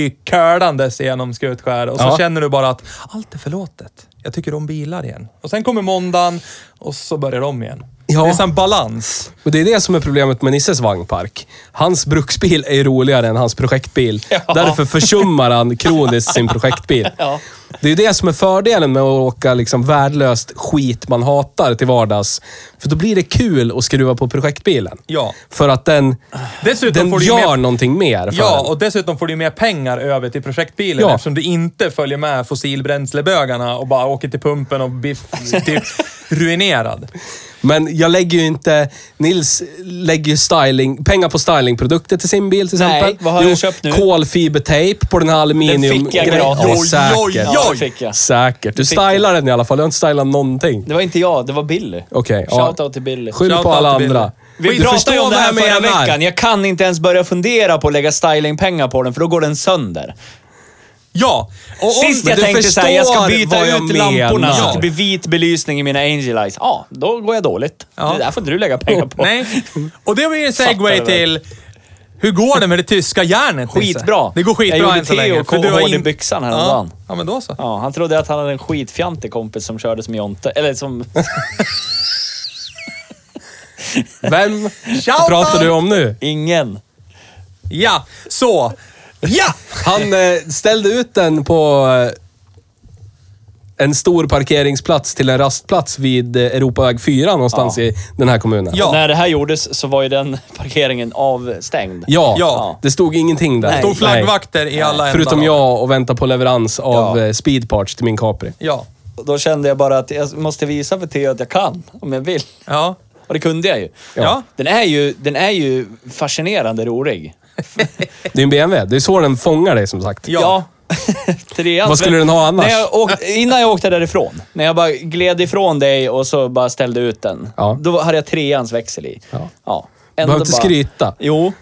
ryckkölandes genom skutskär och så Ja. känner du bara att allt är förlåtet. Jag tycker om bilar igen. Och sen kommer måndagen och så börjar de igen. Ja. Det är en balans. Och det är det som är problemet med Nisses vagnpark. Hans bruksbil är ju roligare än hans projektbil. Därför försummar han kroniskt sin projektbil. Ja. Det är ju det som är fördelen med att åka liksom värdelöst skit man hatar till vardags. För då blir det kul att skruva på projektbilen. Ja. För att den, Dessutom den får du ju gör med- någonting mer för Ja, en. och dessutom får du ju mer pengar över till projektbilen Ja. eftersom du inte följer med fossilbränslebögarna och bara åker till pumpen och blir typ ruinerad. Men jag lägger ju inte... Nils lägger ju styling, pengar på stylingprodukter till sin bil till Nej, exempel. vad har du köpt nu? Kolfibertejp på den här aluminium... fick jag gratis. Ja, Oj, oj, oj. säkert. Ja, det fick jag. Säkert. Du fick jag. stylar den i alla fall. Du har inte stylat någonting. Det var inte jag, det var Billy. Okej, ja. Shoutout till Billy. Skyll Shoutout på alla till andra. Billy. Vi Du pratade förstår ju om det här vad jag förra menar. veckan. Jag kan inte ens börja fundera på att lägga stylingpengar på den, för då går den sönder. Ja! Och om- Sist men jag du tänkte såhär, jag ska förstår byta vad jag ut lamporna så menar. att det blir vit belysning i mina Angel Eyes. Ja, då går jag dåligt. Ja. Det där får inte du lägga pengar på. Nej. Och det blir en Fattar segway väl. till... Hur går det med det tyska järnet, Nisse? Skitbra. Det går skitbra Jag gjorde än så te länge. och för du har KHD in- byxan ja. häromdagen. ja, men då så. Ja, han trodde att han hade en skitfjantig kompis som körde som Jonte. Eller som... Vem pratar du om nu? Ingen. Ja, så. Ja! Han eh, ställde ut den på eh, en stor parkeringsplats till en rastplats vid eh, Europaväg 4 någonstans Ja. i den här kommunen. Ja. När det här gjordes så var ju den parkeringen avstängd. Ja. Ja. Det stod ingenting där. Nej. Stod Nej. flaggvakter i alla ändar. Förutom då. jag och vänta på leverans av Ja. ja. speedparts till min Capri. Ja. Då kände jag bara att jag måste visa för Theo att jag kan, om jag vill. Ja. Och det kunde jag ju. Ja. Den är ju, den är ju fascinerande rolig. Det är en BMW. Det är så den fångar dig som sagt. Ja. Trean. Vad skulle den ha annars? När jag åkte, innan jag åkte därifrån, när jag bara gled ifrån dig och så bara ställde ut den. Ja. Då hade jag treans växel i. Ja. Ändå Behöver inte bara- skryta. Jo.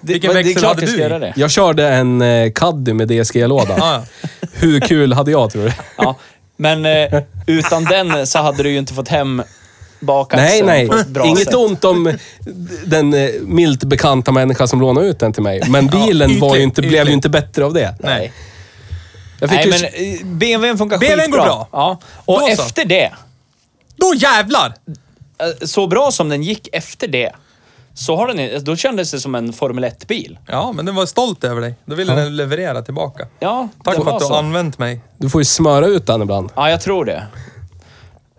Det, Vilken men växel det är klart hade jag ska du i? göra det. Jag körde en eh, Caddy med DSG-låda. Ja, ja. Hur kul hade jag tror du? Ja. Men eh, utan den så hade du ju inte fått hem bakaxeln Nej, nej. på ett bra Inget sätt. ont om den eh, milt bekanta människa som lånade ut den till mig. Men bilen var ytligt, ju inte, blev ytligt. ju inte bättre av det. Nej. Jag fick Nej, ju... men eh, BMWn funkar BMWn går skitbra. bra. Ja. Och Då så. efter det, Då jävlar! eh, så bra som den gick efter det, så har den, då kändes det som en Formel 1-bil. Ja, men den var stolt över dig. Då ville den leverera tillbaka. Ja, Tack den för att var du så. har använt mig. Du får ju smöra ut den ibland. Ja, jag tror det.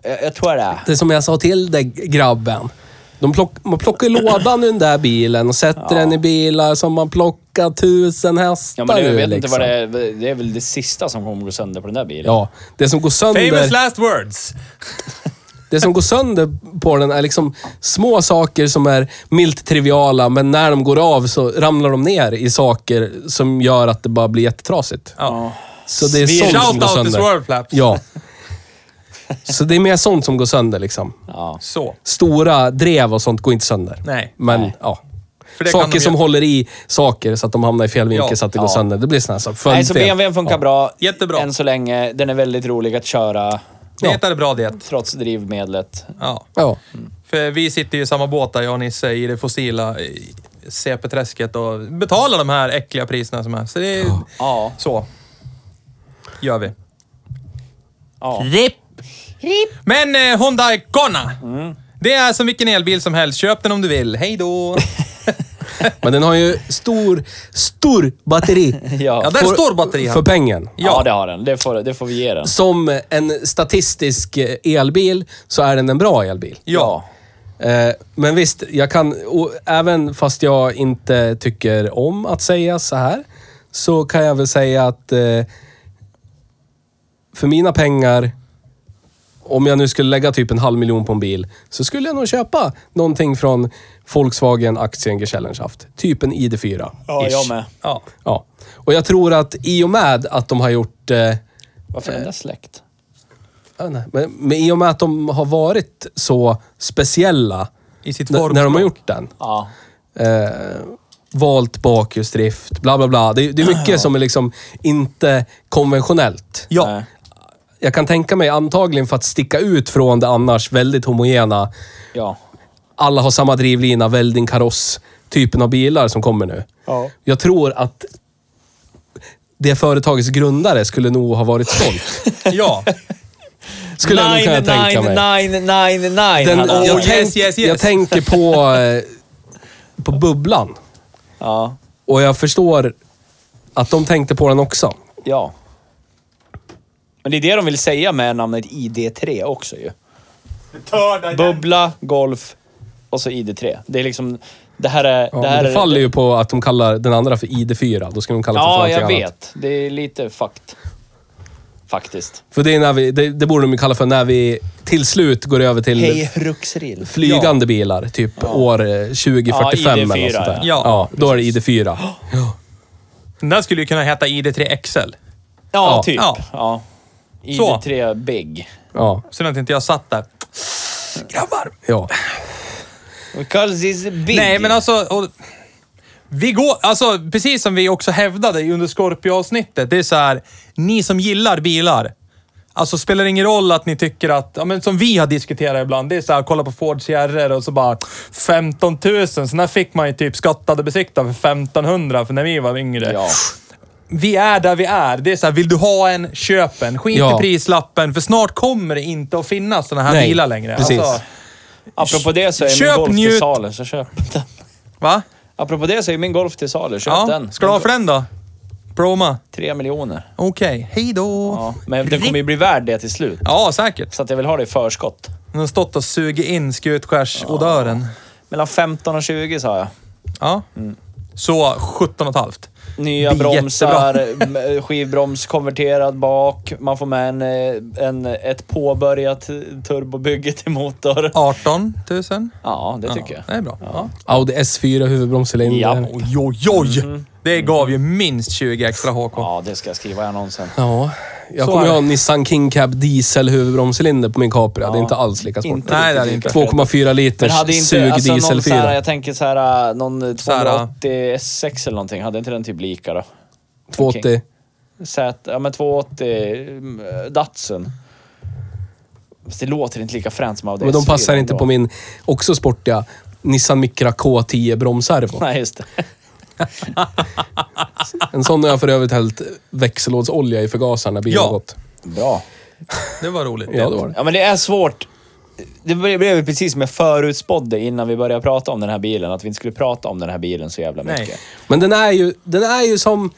Jag, jag tror det. Det är som jag sa till dig, grabben. De plock, man plockar lådan ur den där bilen och sätter den i bilar som man plockar tusen hästar Ja, men jag ur, vet inte liksom. vad det är. Det är väl det sista som kommer gå sönder på den där bilen. Ja, det som går Famous sönder... last words! Det som går sönder på den är liksom små saker som är milt triviala, men när de går av så ramlar de ner i saker som gör att det bara blir jättetrasigt. Ja. Så det är Svin. sånt som Shout går out to sönder. swerve flaps. Ja. Så det är mer sånt som går sönder liksom. Ja. Så. Stora drev och sånt går inte sönder. Nej. Men Nej. ja. För det kan Saker de som göra. håller i saker så att de hamnar i fel vinkel Ja. så att det går Ja. sönder. Det blir sådana här saker. Nej, så BMWn funkar bra. Jättebra. Än så länge. Den är väldigt rolig att köra, Det är bra det. trots drivmedlet. Ja. Ja. För vi sitter ju i samma båt där, jag och Nisse, i det fossila eh, CP-träsket och betalar de här äckliga priserna som är. Så det är... Ja. Så. Gör vi. ja. RIP! Men eh, Honda Icona! Mm. Det är som vilken elbil som helst. Köp den om du vill. Hej då! Men den har ju stor, stor batteri. Ja. Ja, där För- står batteri här. För pengen. Ja, det har den. Det får, det får vi ge den. Som en statistisk eh, elbil så är den en bra elbil. Ja. Eh, Men visst, jag kan, och även fast jag inte tycker om att säga så här, så kan jag väl säga att eh, för mina pengar, om jag nu skulle lägga typ en halv miljon på en bil, så skulle jag nog köpa någonting från Volkswagen Aktiengesellenschaft. Typ en ID4. Ja, jag med. Ja. Ja. Och jag tror att i och med att de har gjort eh, Varför är den där släkt? Jag vet inte, Men, men i och med att de har varit så speciella I sitt när, när de har formspråk. gjort den. Ja. Eh, valt bakhjulsdrift, bla bla bla. Det, är- det är mycket som är liksom inte konventionellt. Ja. Nej. Jag kan tänka mig antagligen för att sticka ut från det annars väldigt homogena. Ja. Alla har samma drivlina, välding, kaross, typen av bilar som kommer nu. Ja. Jag tror att det företagets grundare skulle nog ha varit stolt. Ja. Skulle jag nog kunna tänka mig. nine, nine, nine, Den, hade jag, han yes, varit. tänk, yes, yes. jag tänker på, eh, på Bubblan. Ja. Och jag förstår att de tänkte på den också. Ja. Men det är det de vill säga med namnet ID3 också ju. Bubbla, golf och så ID3. Det är liksom... Det här är... Ja, det men här det är, faller ju på att de kallar den andra för ID4. Då ska de kalla det för Ja, någonting jag annat. vet. Det är lite fucked. Faktiskt. För det, är när vi, det, det borde de ju kalla för när vi till slut går över till Ruxrill. flygande bilar. Typ år eh, 2045 Ja, eller något sånt där. ID4, ja. då är det ID4. Den där skulle ju kunna heta ID3 XL. Ja, Ja. typ. Ja. Ja. Så. ID3 Big. Ja. Synd att inte jag satt där. Grabbar! ja. Because it's big. Nej, men alltså... Och, alltså, Vi går, alltså precis som vi också hävdade under Scorpio-avsnittet, det är så här, ni som gillar bilar, alltså spelar ingen roll att ni tycker att, ja, men som vi har diskuterat ibland, det är så här, kolla på Ford Sierror och så bara 15 000, sen här fick man ju typ skattade besikta för 1500 för när vi var yngre. Ja. Vi är där vi är. Det är så här, vill du ha en, köp en. Skit Ja. i prislappen, för snart kommer det inte att finnas sådana här Nej, bilar längre. Alltså, precis. Apropå det så är Köp min Golf njut- till salu, så köp den. va? Apropå det så är min Golf till salu, köp Ja. den. Ska du ha för den då? Proma. Tre miljoner. Okej, hej då. Ja. Men den kommer ju bli värd det till slut. Ja, säkert. Så att jag vill ha det i förskott. Den har stått och sugit in skutskärsodören. Mellan 15 och 20 sa jag. Ja. Mm. Så 17 och ett halvt. Nya Blir bromsar, m- skivbroms konverterad bak. Man får med en, eh, en, ett påbörjat turbobygge till motor. 18 000. Ja, det tycker jag. Det är bra. Ja. Audi S4 huvudbromscylinder. Ja. Oj, oj, oj. Det gav ju minst 20 extra HK. Mhm. Ja, det ska jag skriva i annonsen. Ja. Jag Så kommer är ju ha det. en Nissan King Cab diesel huvudbromscylinder på min Capri. Det är inte alls lika sportigt. Inte Nej, det är det inte. 2,4 Men liters hade inte sug alltså någon så här, dieselfyra. jag tänker så här, eh, någon Så här, ja. 280 S6 eller någonting. Hade inte den typ lika då? 280. Z, ja men 280 mm, Datsun. Fast det låter inte lika fränt som av det Men de S4 passar inte ändå. på min, också sportiga, Nissan Micra K10 bromsservo. Nej, just det. En sån har jag för övrigt hällt växellådsolja i förgasaren när bilen Ja. har gått. Bra. Det var roligt. Ja, det var det. Ja, men det är svårt. Det ble- blev ju precis som jag förutspådde innan vi började prata om den här bilen. Att vi inte skulle prata om den här bilen så jävla mycket. Nej. Men den är ju, den är ju som...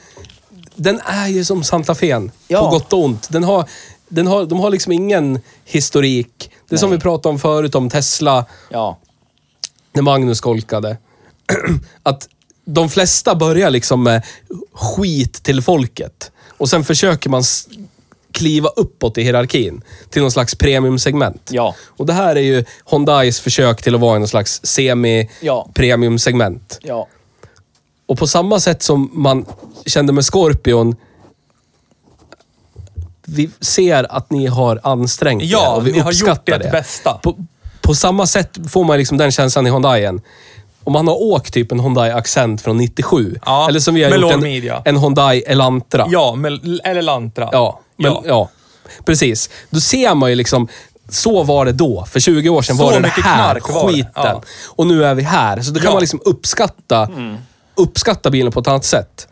Den är ju som Santa Fen. Ja. På gott och ont. Den har, den har, de har liksom ingen historik. Det är som vi Nej. pratade om förut, om Tesla, Ja. när Magnus skolkade. att de flesta börjar liksom med skit till folket. Och sen försöker man s- kliva uppåt i hierarkin. Till någon slags premiumsegment. Ja. Och det här är ju Hyundais försök till att vara i någon slags semi-premiumsegment. Ja. Och på samma sätt som man kände med Scorpion. Vi ser att ni har ansträngt er Ja, och vi ni har uppskattar gjort ert bästa. På, på samma sätt får man liksom den känslan i Hyundaien. Om man har åkt typ en Hyundai Accent från 97. Ja, eller som vi har med lång gjort en, midja. en Hyundai Elantra. Ja, men, eller Lantra. Ja, men, ja. Ja. precis. Då ser man ju liksom, så var det då. För 20 år sedan Så var det den mycket här knark var det. skiten. Ja. Och nu är vi här. Så då kan Ja. Mm. man liksom uppskatta, uppskatta bilen på ett annat sätt.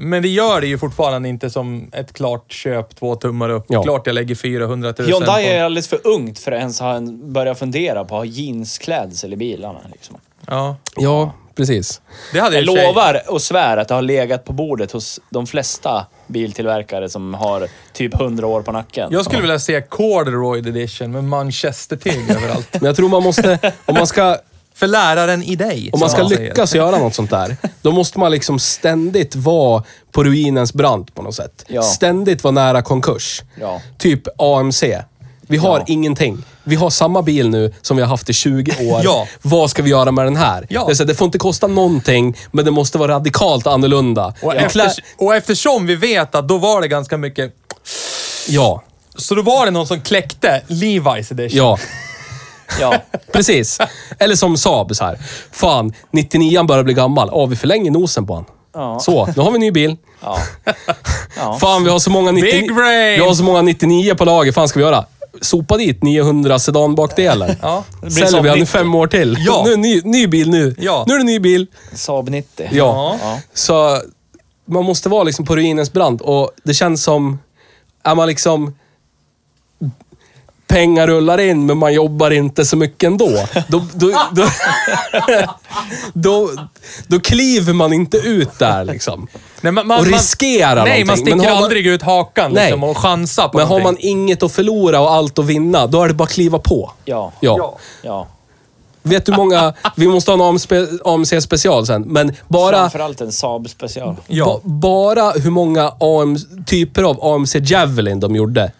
Men det gör det ju fortfarande inte som ett klart köp, två tummar upp. Ja. Klart jag lägger 400 000 Hyundai är på... alldeles för ungt för att ens ha en, börja fundera på att ha jeansklädsel i bilarna. Liksom. Ja. Ja, precis. Det hade Jag i och för sig- lovar och svär att det har legat på bordet hos de flesta biltillverkare som har typ 100 år på nacken. Jag skulle vilja se Corduroy edition med manchestertyg överallt. Men jag tror man måste, om man ska, För läraren i dig. om man som ska säger. lyckas göra något sånt där, då måste man liksom ständigt vara på ruinens brant på något sätt. Ja. Ständigt vara nära konkurs. Ja. Typ AMC. Vi har Ja. ingenting. Vi har samma bil nu som vi har haft i 20 år. Ja. Vad ska vi göra med den här? Ja. Det, är så, här, det får inte kosta någonting, men det måste vara radikalt annorlunda. Och, En efter, klä- och eftersom vi vet att då var det ganska mycket... ja, Så då var det någon som kläckte Levi's edition. ja. Ja. Precis. Eller som Saab så här. Fan, 99an börjar bli gammal. Ja, vi förlänger nosen på han. Ja. Så, nu har vi en ny bil. Ja. Ja. Fan, vi har så många 99... Big brain! Vi har så många 99 på lager. fan ska vi göra? Sopa dit 900 sedanbakdelen. Ja. blir Säljer som vi den i 90. fem år till. Ja. Nu är det ny, ny bil nu. Ja. Nu är det ny bil. Saab 90. Ja. Ja. Så man måste vara liksom på ruinens brant och det känns som... Är man liksom... Pengar rullar in, men man jobbar inte så mycket ändå. Då, då, då, då, då kliver man inte ut där liksom. Nej, man, Och riskera Nej, man någonting. sticker Men har man- aldrig ut hakan Nej. liksom, och chansar på Men har man någonting. inget att förlora och allt att vinna, då är det bara att kliva på. Ja. Ja. Ja. Ja. Vet du hur många... Vi måste ha en AMC special sen, men bara... Framförallt en Saab special. Ba, Ja. bara hur många AM, typer av AMC Javelin de gjorde.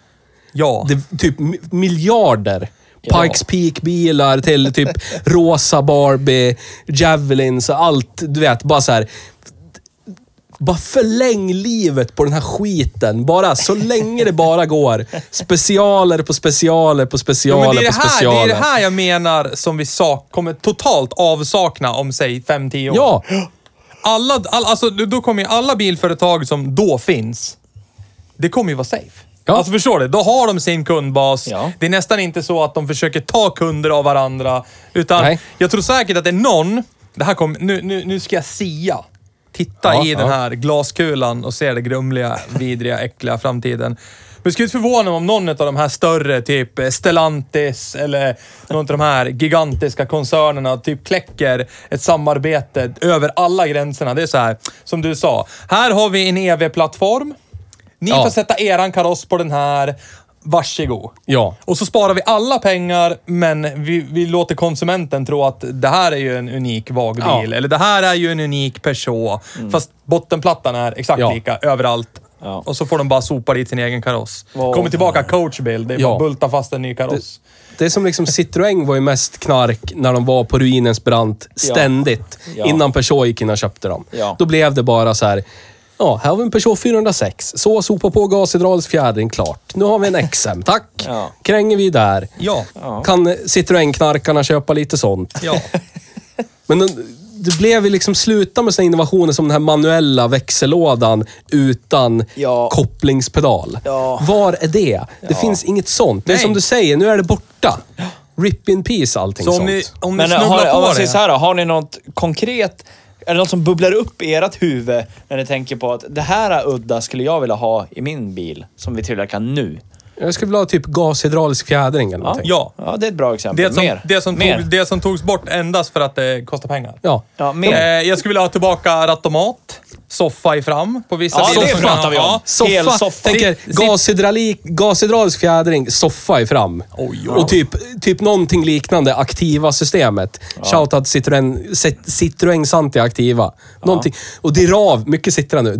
ja. Det, är typ mi- miljarder. Ja. Pikes Peak-bilar till typ rosa Barbie, Javelins och allt. Du vet, bara så här. Bara förläng livet på den här skiten. Bara så länge det bara går. Specialer på specialer på Jo, specialer men det, är det, på här, det specialer. är det här jag menar som vi sak, kommer totalt avsakna om, säg, 5-10 år. Ja. alla, all, alltså, då kommer ju alla bilföretag som då finns, det kommer ju vara safe. Ja. Alltså förstår du? Då har de sin kundbas. Ja. Det är nästan inte så att de försöker ta kunder av varandra. Utan Nej. jag tror säkert att det är någon, det här kom, nu, nu, nu ska jag sia. Titta Ja, i den ja. här glaskulan och se den grumliga, vidriga, äckliga framtiden. Men det skulle inte förvåna mig om någon av de här större, typ eh, Stellantis eller någon av de här gigantiska koncernerna, typ kläcker ett samarbete över alla gränserna. Det är så här, som du sa. Här har vi en EV-plattform. Ni Ja. får sätta eran kaross på den här. Varsågod. Ja. Och så sparar vi alla pengar, men vi, vi låter konsumenten tro att det här är ju en unik vagbil. Ja. Eller det här är ju en unik Peugeot. Fast bottenplattan är exakt Ja. lika överallt. Ja. Och så får de bara sopa dit sin egen kaross. Wow. Kommer tillbaka coachbil, det är Ja. bara bulta fast en ny kaross. Det är som liksom Citroën var ju mest knark när de var på ruinens brant ständigt. Ja. Innan Peugeot gick in och köpte dem. Ja. Då blev det bara så här. Ja, här har vi en Peugeot 406. Så, sopa på gashydraulisk fjädring, klart. Nu har vi en XM, tack. Ja. Kränger vi där. Ja. Kan Citroën-knarkarna köpa lite sånt? Ja. Men den- det blev ju liksom sluta med sina innovationer som den här manuella växellådan utan Ja. kopplingspedal. Ja. Var är det? Det finns inget sånt. Det är Nej. som du säger, nu är det borta. Rip in peace allting Så om sånt. ni, om ni Men eh, har, snubblar om på man det. säger så här då, har ni något konkret, är det något som bubblar upp i ert huvud när ni tänker på att det här udda skulle jag vilja ha i min bil som vi tillverkar nu? Jag skulle vilja ha typ gashydraulisk fjädring eller någonting. Ja. Ja, det är ett bra exempel. Det som, mer. det, som mer. tog, det som togs bort endast för att det kostar pengar. Ja. Ja, Eh, mer. jag skulle vilja ha tillbaka rattomat, soffa i fram på vissa Ja, det bilar. pratar vi om. Ja. Soffa. Hel soffa. Tänker Sitt- sitt- gashydraulik, gashydraulisk fjädring, soffa i fram. Oj, oj, Och typ, typ någonting liknande, aktiva systemet. Shoutout Citroën, Cit- Citroën Santi Aktiva. Någonting. Och Dirav, mycket Citroën nu,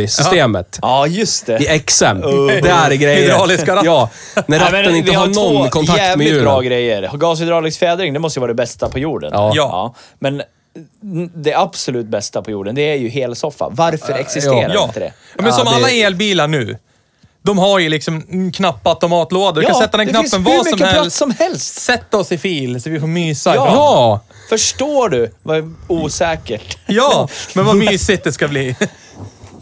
Diravi-systemet. Ja, just det. I XM. Där är grejer. Hydrauliska ratt. Ja, när Nej, men ratten inte vi har två någon kontakt med jävligt bra hjulen. grejer. Gashydraulisk fjädring, det måste ju vara det bästa på jorden. Ja. Ja. Men det absolut bästa på jorden, det är ju helsoffa. Varför existerar ja. Ja. inte det? ja, men Ja, som det- alla elbilar nu. De har ju liksom en knappautomatlådor. Du Ja, kan sätta den det knappen finns var hur som mycket plats helst. som helst. Sätt oss i fil så vi får mysa. Ja. ibland. Ja! Förstår du vad osäkert? ja, men vad mysigt det ska bli.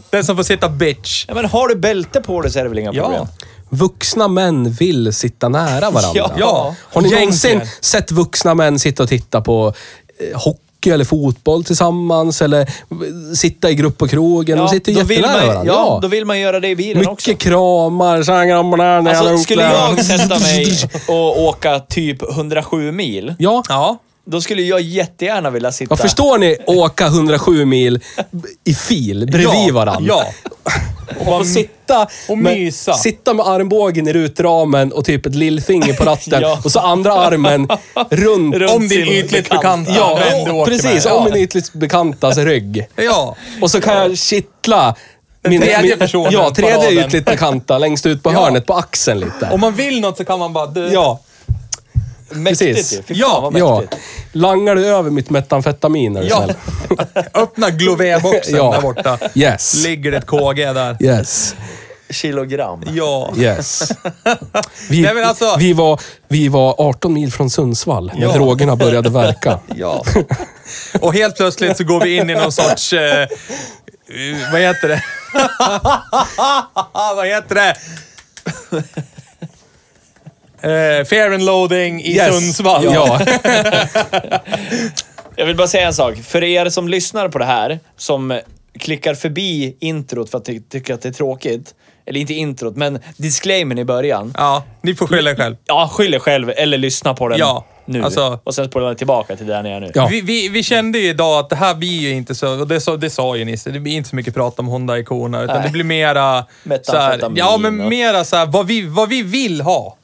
Den som får sitta bitch. Ja, men har du bälte på dig så är det väl inga Ja. problem? Vuxna män vill sitta nära varandra. Ja. Ja. Har ni Egentligen. någonsin sett vuxna män sitta och titta på eh, hockey eller fotboll tillsammans eller eh, sitta i grupp på krogen? de sitter då vill jättenära man, varandra. Ja, då vill man göra det i bilen Mycket också. kramar, så här grabbarna, när Alltså, jag skulle lunkar. jag sätta mig och åka typ 107 mil, Ja. Ja. då skulle jag jättegärna vilja sitta... ja, förstår ni åka 107 mil i fil bredvid ja. varandra? Ja. Och bara sitta och med, mysa. sitta med armbågen i rutramen och typ ett lillfinger på ratten Ja. och så andra armen runt. Runt Om din sin ytligt bekant. bekanta. Ja, vän du och- åker precis. med. Om min ytligt bekantas rygg. Ja. Och så kan jag kittla Den tredje personen Ja, på tredje raden. ytligt bekanta längst ut på hörnet på axeln lite. Om man vill något så kan man bara... Du, Ja, Mäktigt precis. ju. Fy fan Ja, vad ja. mäktigt. Langar du över mitt metamfetamin är du Ja. snäll? Öppna Glové-boxen Ja. där borta. Yes. Ligger det ett KG där. Yes, Kilogram. Ja. yes. Vi, Nej, men alltså- vi, var, vi var 18 mil från Sundsvall när Ja. drogerna började verka. Ja. Och helt plötsligt så går vi in i någon sorts... Eh, eh, vad heter det? vad heter det? Eh, fair and loading i Yes. Sundsvall. Ja. Jag vill bara säga en sak. För er som lyssnar på det här, som klickar förbi introt för att ty tycka att det är tråkigt. Eller inte introt, men disclaimern i början. ja, ni får skylla er själv. Ja, skyll er själv eller lyssna på den Ja, nu. alltså- Och sen spolar den tillbaka till där ni är nu. Ja. Vi, vi, vi kände ju idag att det här blir ju inte så, och det, sa- det sa ju Nisse, det blir inte så mycket prat om Honda-ikoner, utan Nej. det blir mera... Så här, Metamfetamin ja, och- men mera så här, vad vi, vad vi vill ha.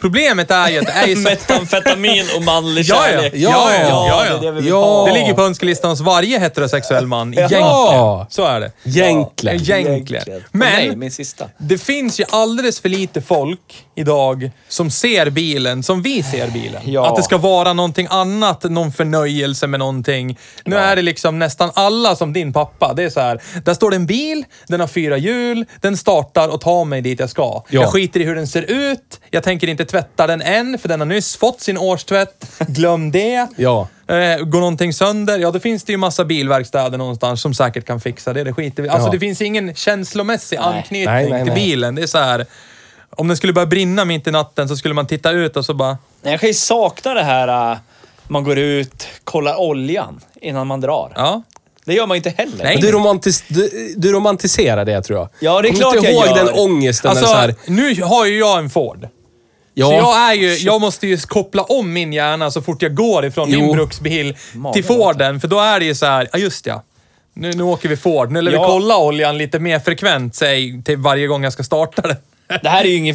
Problemet är ju att det är ju så... Metamfetamin och manlig Ja, ja. kärlek. Ja, ja, ja, ja. det är det vi vill Ja. ha. Det ligger på önskelistan hos varje heterosexuell man. Ja. Egentligen. Så är det. Egentligen. Egentligen. Nej, Men min sista. det finns ju alldeles för lite folk idag som ser bilen som vi ser bilen. Ja. Att det ska vara någonting annat, någon förnöjelse med någonting. Nu är det liksom nästan alla som din pappa. Det är så här, där står det en bil, den har fyra hjul, den startar och tar mig dit jag ska. Ja. Jag skiter i hur den ser ut, jag tänker inte tvätta den än, för den har nyss fått sin årstvätt. Glöm det. Ja. Eh, går någonting sönder, ja då finns det ju massa bilverkstäder någonstans som säkert kan fixa det. Det skiter vi Alltså Ja. det finns ingen känslomässig anknytning Nej, nej, till nej. bilen. Det är så här, om den skulle börja brinna mitt i natten så skulle man titta ut och så bara... Nej, Jag kan ju sakna det här äh, man går ut, kollar oljan innan man drar. Ja. Det gör man ju inte heller. Nej. Du, romantis du, du romantiserar det tror jag. Ja, det är Kommer klart inte jag ihåg gör. den ångesten. när så Alltså, här, nu har ju jag en Ford. ja, Så jag, är ju, jag måste ju koppla om min hjärna så fort jag går ifrån min Jo. bruksbil Magen till Forden. För då är det ju så här, ja just ja. Nu, nu åker vi Ford. Nu lär Ja. vi kolla oljan lite mer frekvent, säg, till varje gång jag ska starta den. Det här är ju ingen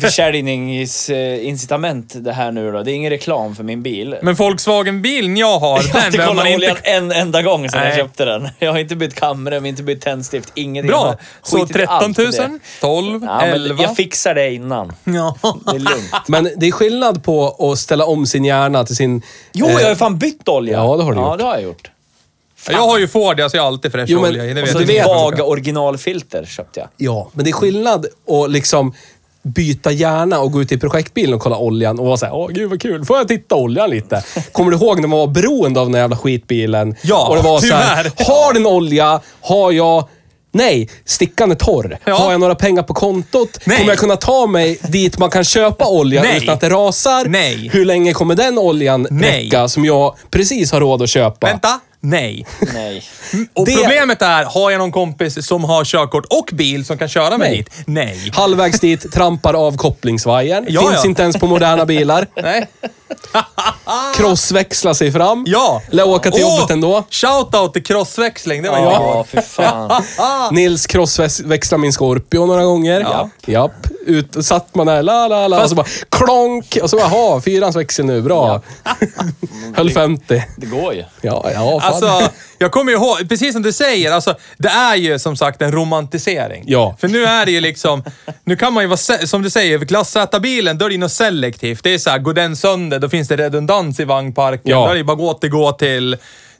försäljningsincitament äh, det här nu då. Det är ingen reklam för min bil. Men Volkswagen-bilen jag har, Jag har den inte behöver man kollat inte... oljan en enda gång sedan jag Nej. köpte den. Jag har inte bytt kamera, jag har inte bytt tändstift, ingenting. Jag Bra! har Så skitit i allt 13 000, det. 12, Ja, men 11. jag fixar det innan. Ja. Det är lugnt. Men det är skillnad på att ställa om sin hjärna till sin... Jo, eh, jag har ju fan bytt olja. Ja, det har du Ja, gjort. det har jag gjort. Jag har ju Ford, jag ser alltid fräsch Jo, men- olja i. Det och vet Så du jag. vet- ett alltså, vaga originalfilter köpte jag. Ja, men det är skillnad att liksom byta hjärna och gå ut i projektbilen och kolla oljan och vara såhär, åh gud vad kul, får jag titta oljan lite? Kommer du ihåg när man var beroende av den här jävla skitbilen? Ja, och det var såhär, tyvärr. har den olja? Har jag... Nej, stickan är torr. Ja. Har jag några pengar på kontot? Nej. Kommer jag kunna ta mig dit man kan köpa olja Nej. utan att det rasar? Nej. Hur länge kommer den oljan Nej. räcka som jag precis har råd att köpa? Vänta! Nej. Nej. Och Det- problemet är, har jag någon kompis som har körkort och bil som kan köra mig Nej. dit? Nej. Halvvägs dit, trampar av kopplingsvajern. Ja, Finns ja. inte ens på moderna bilar. Nej. Crossväxla sig fram. Ja! Lär åka till Åh, jobbet ändå. Shoutout till crossväxling, det var Ja, jag. för fan. Nils crossväxlade min Scorpio några gånger. Ja. Japp. Ut, satt man där, la la la, och så bara klonk. Och så bara, jaha, fyrans växel nu, bra. Höll 50. Det går ju. Ja, ja, fan. Alltså, jag kommer ju ihåg, precis som du säger, alltså, det är ju som sagt en romantisering. Ja. För nu är det ju liksom, nu kan man ju vara, se- som du säger, klass Z-bilen, då är det ju något selektivt. Det är så här, går den sönder, då finns det redundans i vagnparken. Ja. Då är det ju bara att återgå till,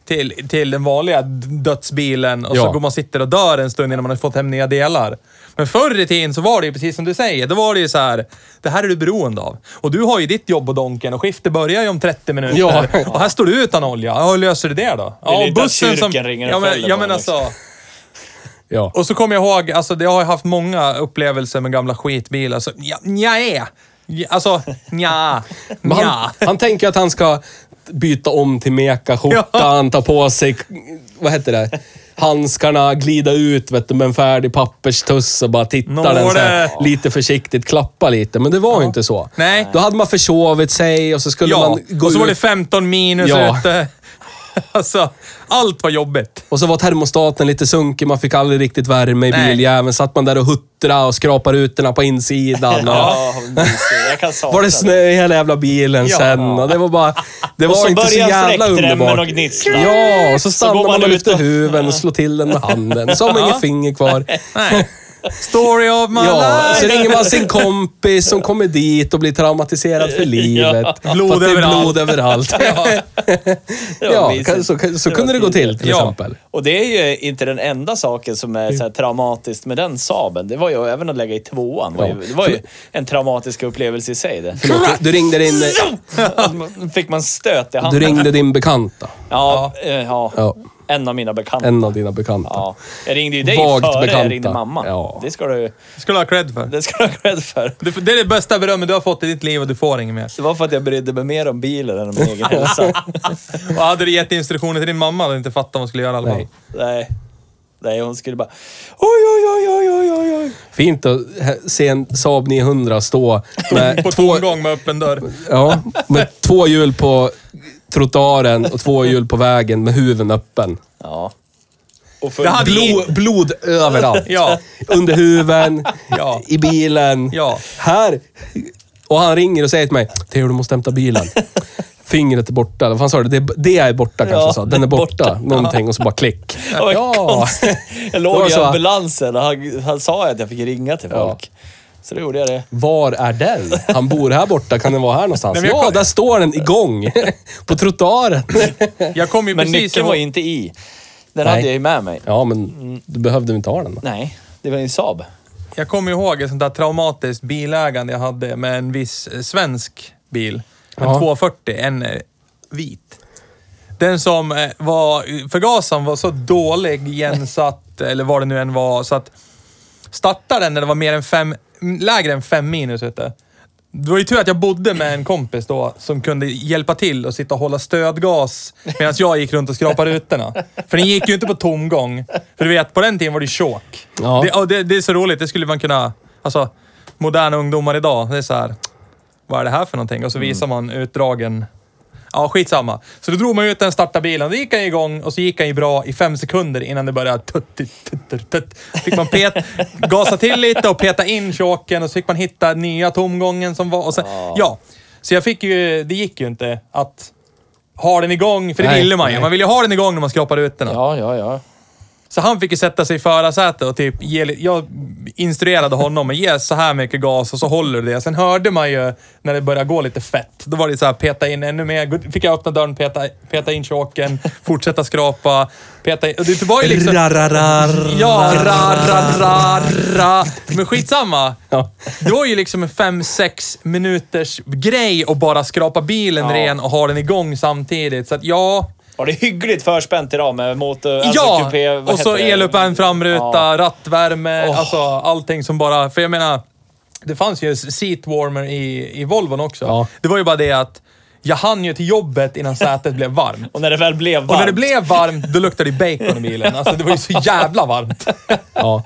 till, till den vanliga dödsbilen och Ja. så går man och sitter och dör en stund innan man har fått hem nya delar. Men förr i tiden så var det ju precis som du säger, då var det ju så här, det här är du beroende av. Och du har ju ditt jobb och donken och skiftet börjar ju om 30 minuter. Ja. Och här står du utan olja. Ja, hur löser du det då? Vill Ja, inte att kyrkan ringer och ja, men, skäller ja, på men honom, alltså. ja. Och så kommer jag ihåg, alltså det har jag haft många upplevelser med gamla skitbilar. Så, ja, nja, är. Ja, Alltså, nja, Men nja. han, han tänker att han ska byta om till mekaskjortan, ta på sig, vad heter det, handskarna, glida ut vet du, med en färdig papperstuss och bara titta Nåde. den så här, lite försiktigt, klappa lite. Men det var ju inte så. Nej. Då hade man försovit sig och så skulle Ja, man gå och så var det ut 15 minus Ja. ute. Alltså, allt var jobbigt. och så var termostaten lite sunkig, man fick aldrig riktigt värme i Nej. biljäveln. Satt man där och huttrade och skrapade rutorna på insidan. Och, Ja, mysigt. jag kan sakna Var det snö i hela jävla bilen Ja. sen och det var bara... Det Och var så inte så börjar jävla fläktremmen underbart. och gnissla. Ja, och så stannar går man, man och ut lyfter och- huven och slår till den med handen. Så har man inget finger kvar. Nej. Story of my Ja, så life. ringer man sin kompis som kommer dit och blir traumatiserad för livet. För att Blod det är överallt. Blod överallt. Ja. Det var Ja, mysigt. kan- så, så var kunde det gå till tidigt. till Ja. exempel. Och det är ju inte den enda saken som är så här traumatiskt med den Saaben. Det var ju även att lägga i tvåan. Det var ju, det var ju en traumatisk upplevelse i sig det. Förlåt, du- du ringde din, Att man- Fick man stöt i du handen? ringde din bekanta. Ja, eh, ja. Ja. en av mina bekanta. En av dina bekanta. Ja. Jag ringde ju dig Vagt före bekanta. jag ringde mamma. Ja. Det ska du skulle du ha cred för. det ska du ha cred för. Du- Det är det bästa berömmet du har fått i ditt liv och du får inget mer. Det var för att jag brydde mig mer om bilen än om min egen hälsa. Och hade du gett instruktioner till din mamma hade du inte fattat vad hon skulle göra i alla fall. Nej. Nej. Nej, hon skulle bara... Oj, oj, oj, oj, oj, oj, oj. Fint att he- se en Saab 900 stå På med två, tomgång Eh, med öppen dörr. ja, med två hjul på trottoaren och två hjul på vägen med huven öppen. Ja. Och för Det hade ju- Blod, blod överallt. Ja. Under huven, Ja. i bilen. Ja. Här. Och han ringer och säger till mig, Theo du måste hämta bilen. Fingret är borta. Vad fan sa du? Det, det är borta kanske Ja, jag sa. Den är borta. Någonting och så bara klick. Ja, vad konstigt. Jag låg var i så här- ambulansen och han, han sa att jag fick ringa till Ja. folk. Så då gjorde jag det. Var är den? Han bor här borta. Kan den vara här någonstans? Nej, men jag ja, kom- där står den igång. På trottoaren. Jag kom ju Men precis nyckeln var inte i. Den Nej. hade jag ju med mig. Ja, men du behövde inte ha den. Nej, det var ju en Saab. Jag kommer ihåg ett sånt där traumatiskt bilägande jag hade med en viss eh, svensk bil. En Ja. 240, en eh, vit. Den som eh, var... Förgasaren var så dålig igensatt, eller vad det nu än var, så att startade den när det var mer än fem, lägre än fem minus ute. Det var ju tur att jag bodde med en kompis då som kunde hjälpa till och sitta och hålla stödgas medan jag gick runt och skrapade rutorna. För den gick ju inte på tomgång. För du vet, på den tiden var det ju chok. Ja. Det, och det, det är så roligt, det skulle man kunna... Alltså, moderna ungdomar idag, det är så här. Vad är det här för någonting? Och så Mm. visar man utdragen... Ja, skitsamma. Så då drog man ut den, startade bilen, då gick han igång och så gick han ju bra i fem sekunder innan det började tutt, tutt, tutt, tutt, tutt. Fick man pet, gasa till lite och peta in choken och så fick man hitta nya tomgången som var och sen, ja. Så jag fick ju, det gick ju inte att ha den igång, för det Nej, ville man ju. nej. Man ville ju ha den igång när man skrapade ut den. Ja, ja, ja. Så han fick ju sätta sig i förarsätet och typ, ge, jag instruerade honom att ge så här mycket gas och så håller du det. Sen hörde man ju när det började gå lite fett. Då var det så här, peta in ännu mer. Gå- Fick jag öppna dörren, peta, peta in choken, fortsätta skrapa, peta in. och Det var ju liksom... Ja, ra, ra, ra, ra. Men skitsamma. Ja. Det var ju liksom en fem sex minuters grej att bara skrapa bilen Ja. ren och ha den igång samtidigt. Så att ja, Var det hyggligt förspänt idag med motor... Ja! alltså kupé, vad och så heter det? eluppvärmd framruta, Ja. rattvärme, Åh. alltså allting som bara... För jag menar, det fanns ju seatwarmer i, i Volvon också. Ja. Det var ju bara det att jag hann ju till jobbet innan sätet blev varmt. Och när det väl blev varmt. Och när det blev varmt, då luktade det bacon i bilen. Alltså det var ju så jävla varmt. Ja.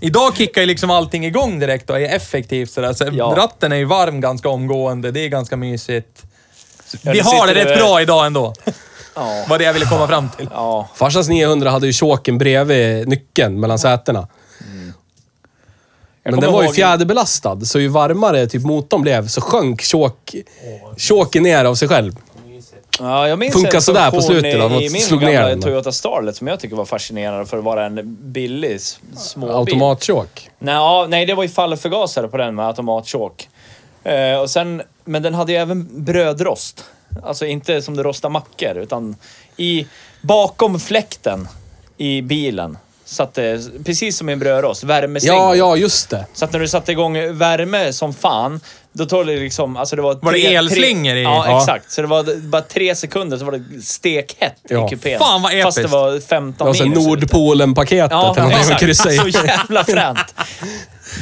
Idag kickar ju liksom allting igång direkt och är effektivt sådär. Så Ja. Ratten är ju varm ganska omgående, det är ganska mysigt. Så Ja, Vi det har det sitter rätt över- bra idag ändå. Ja. Var det jag ville komma fram till. Ja. Farsans 900 hade ju choken bredvid nyckeln mellan sätena. Men kommer den var ju ihåg- fjäderbelastad, så ju varmare typ motorn blev så sjönk chok, choken ner av sig själv. Ja, jag minns Funkar en sådär på funktion slutet då, i, man i min slog ner gamla den. Toyota Starlet som jag tycker var fascinerande för att vara en billig s- småbil. Automatchok. Nej, ja, nej, det var ju fallförgasare på den med automatchok. Eh, och sen, men den hade ju även brödrost. Alltså inte som det rostar mackor, utan i, bakom fläkten i bilen satt det, precis som i en brödrost, värmeslingor. Ja, ja, just det. Så att när du satte igång värme som fan, då tog det liksom... Alltså det var Var det elslingor i? Ja, Ja. exakt. Så det var bara tre sekunder så var det stekhett Ja. i kupén. Fan, vad Fast det episkt. var 15 Det var så minus. ute. Nordpolen-paketet. Ja, eller något man exakt. kryssar i. Så Alltså, jävla fränt.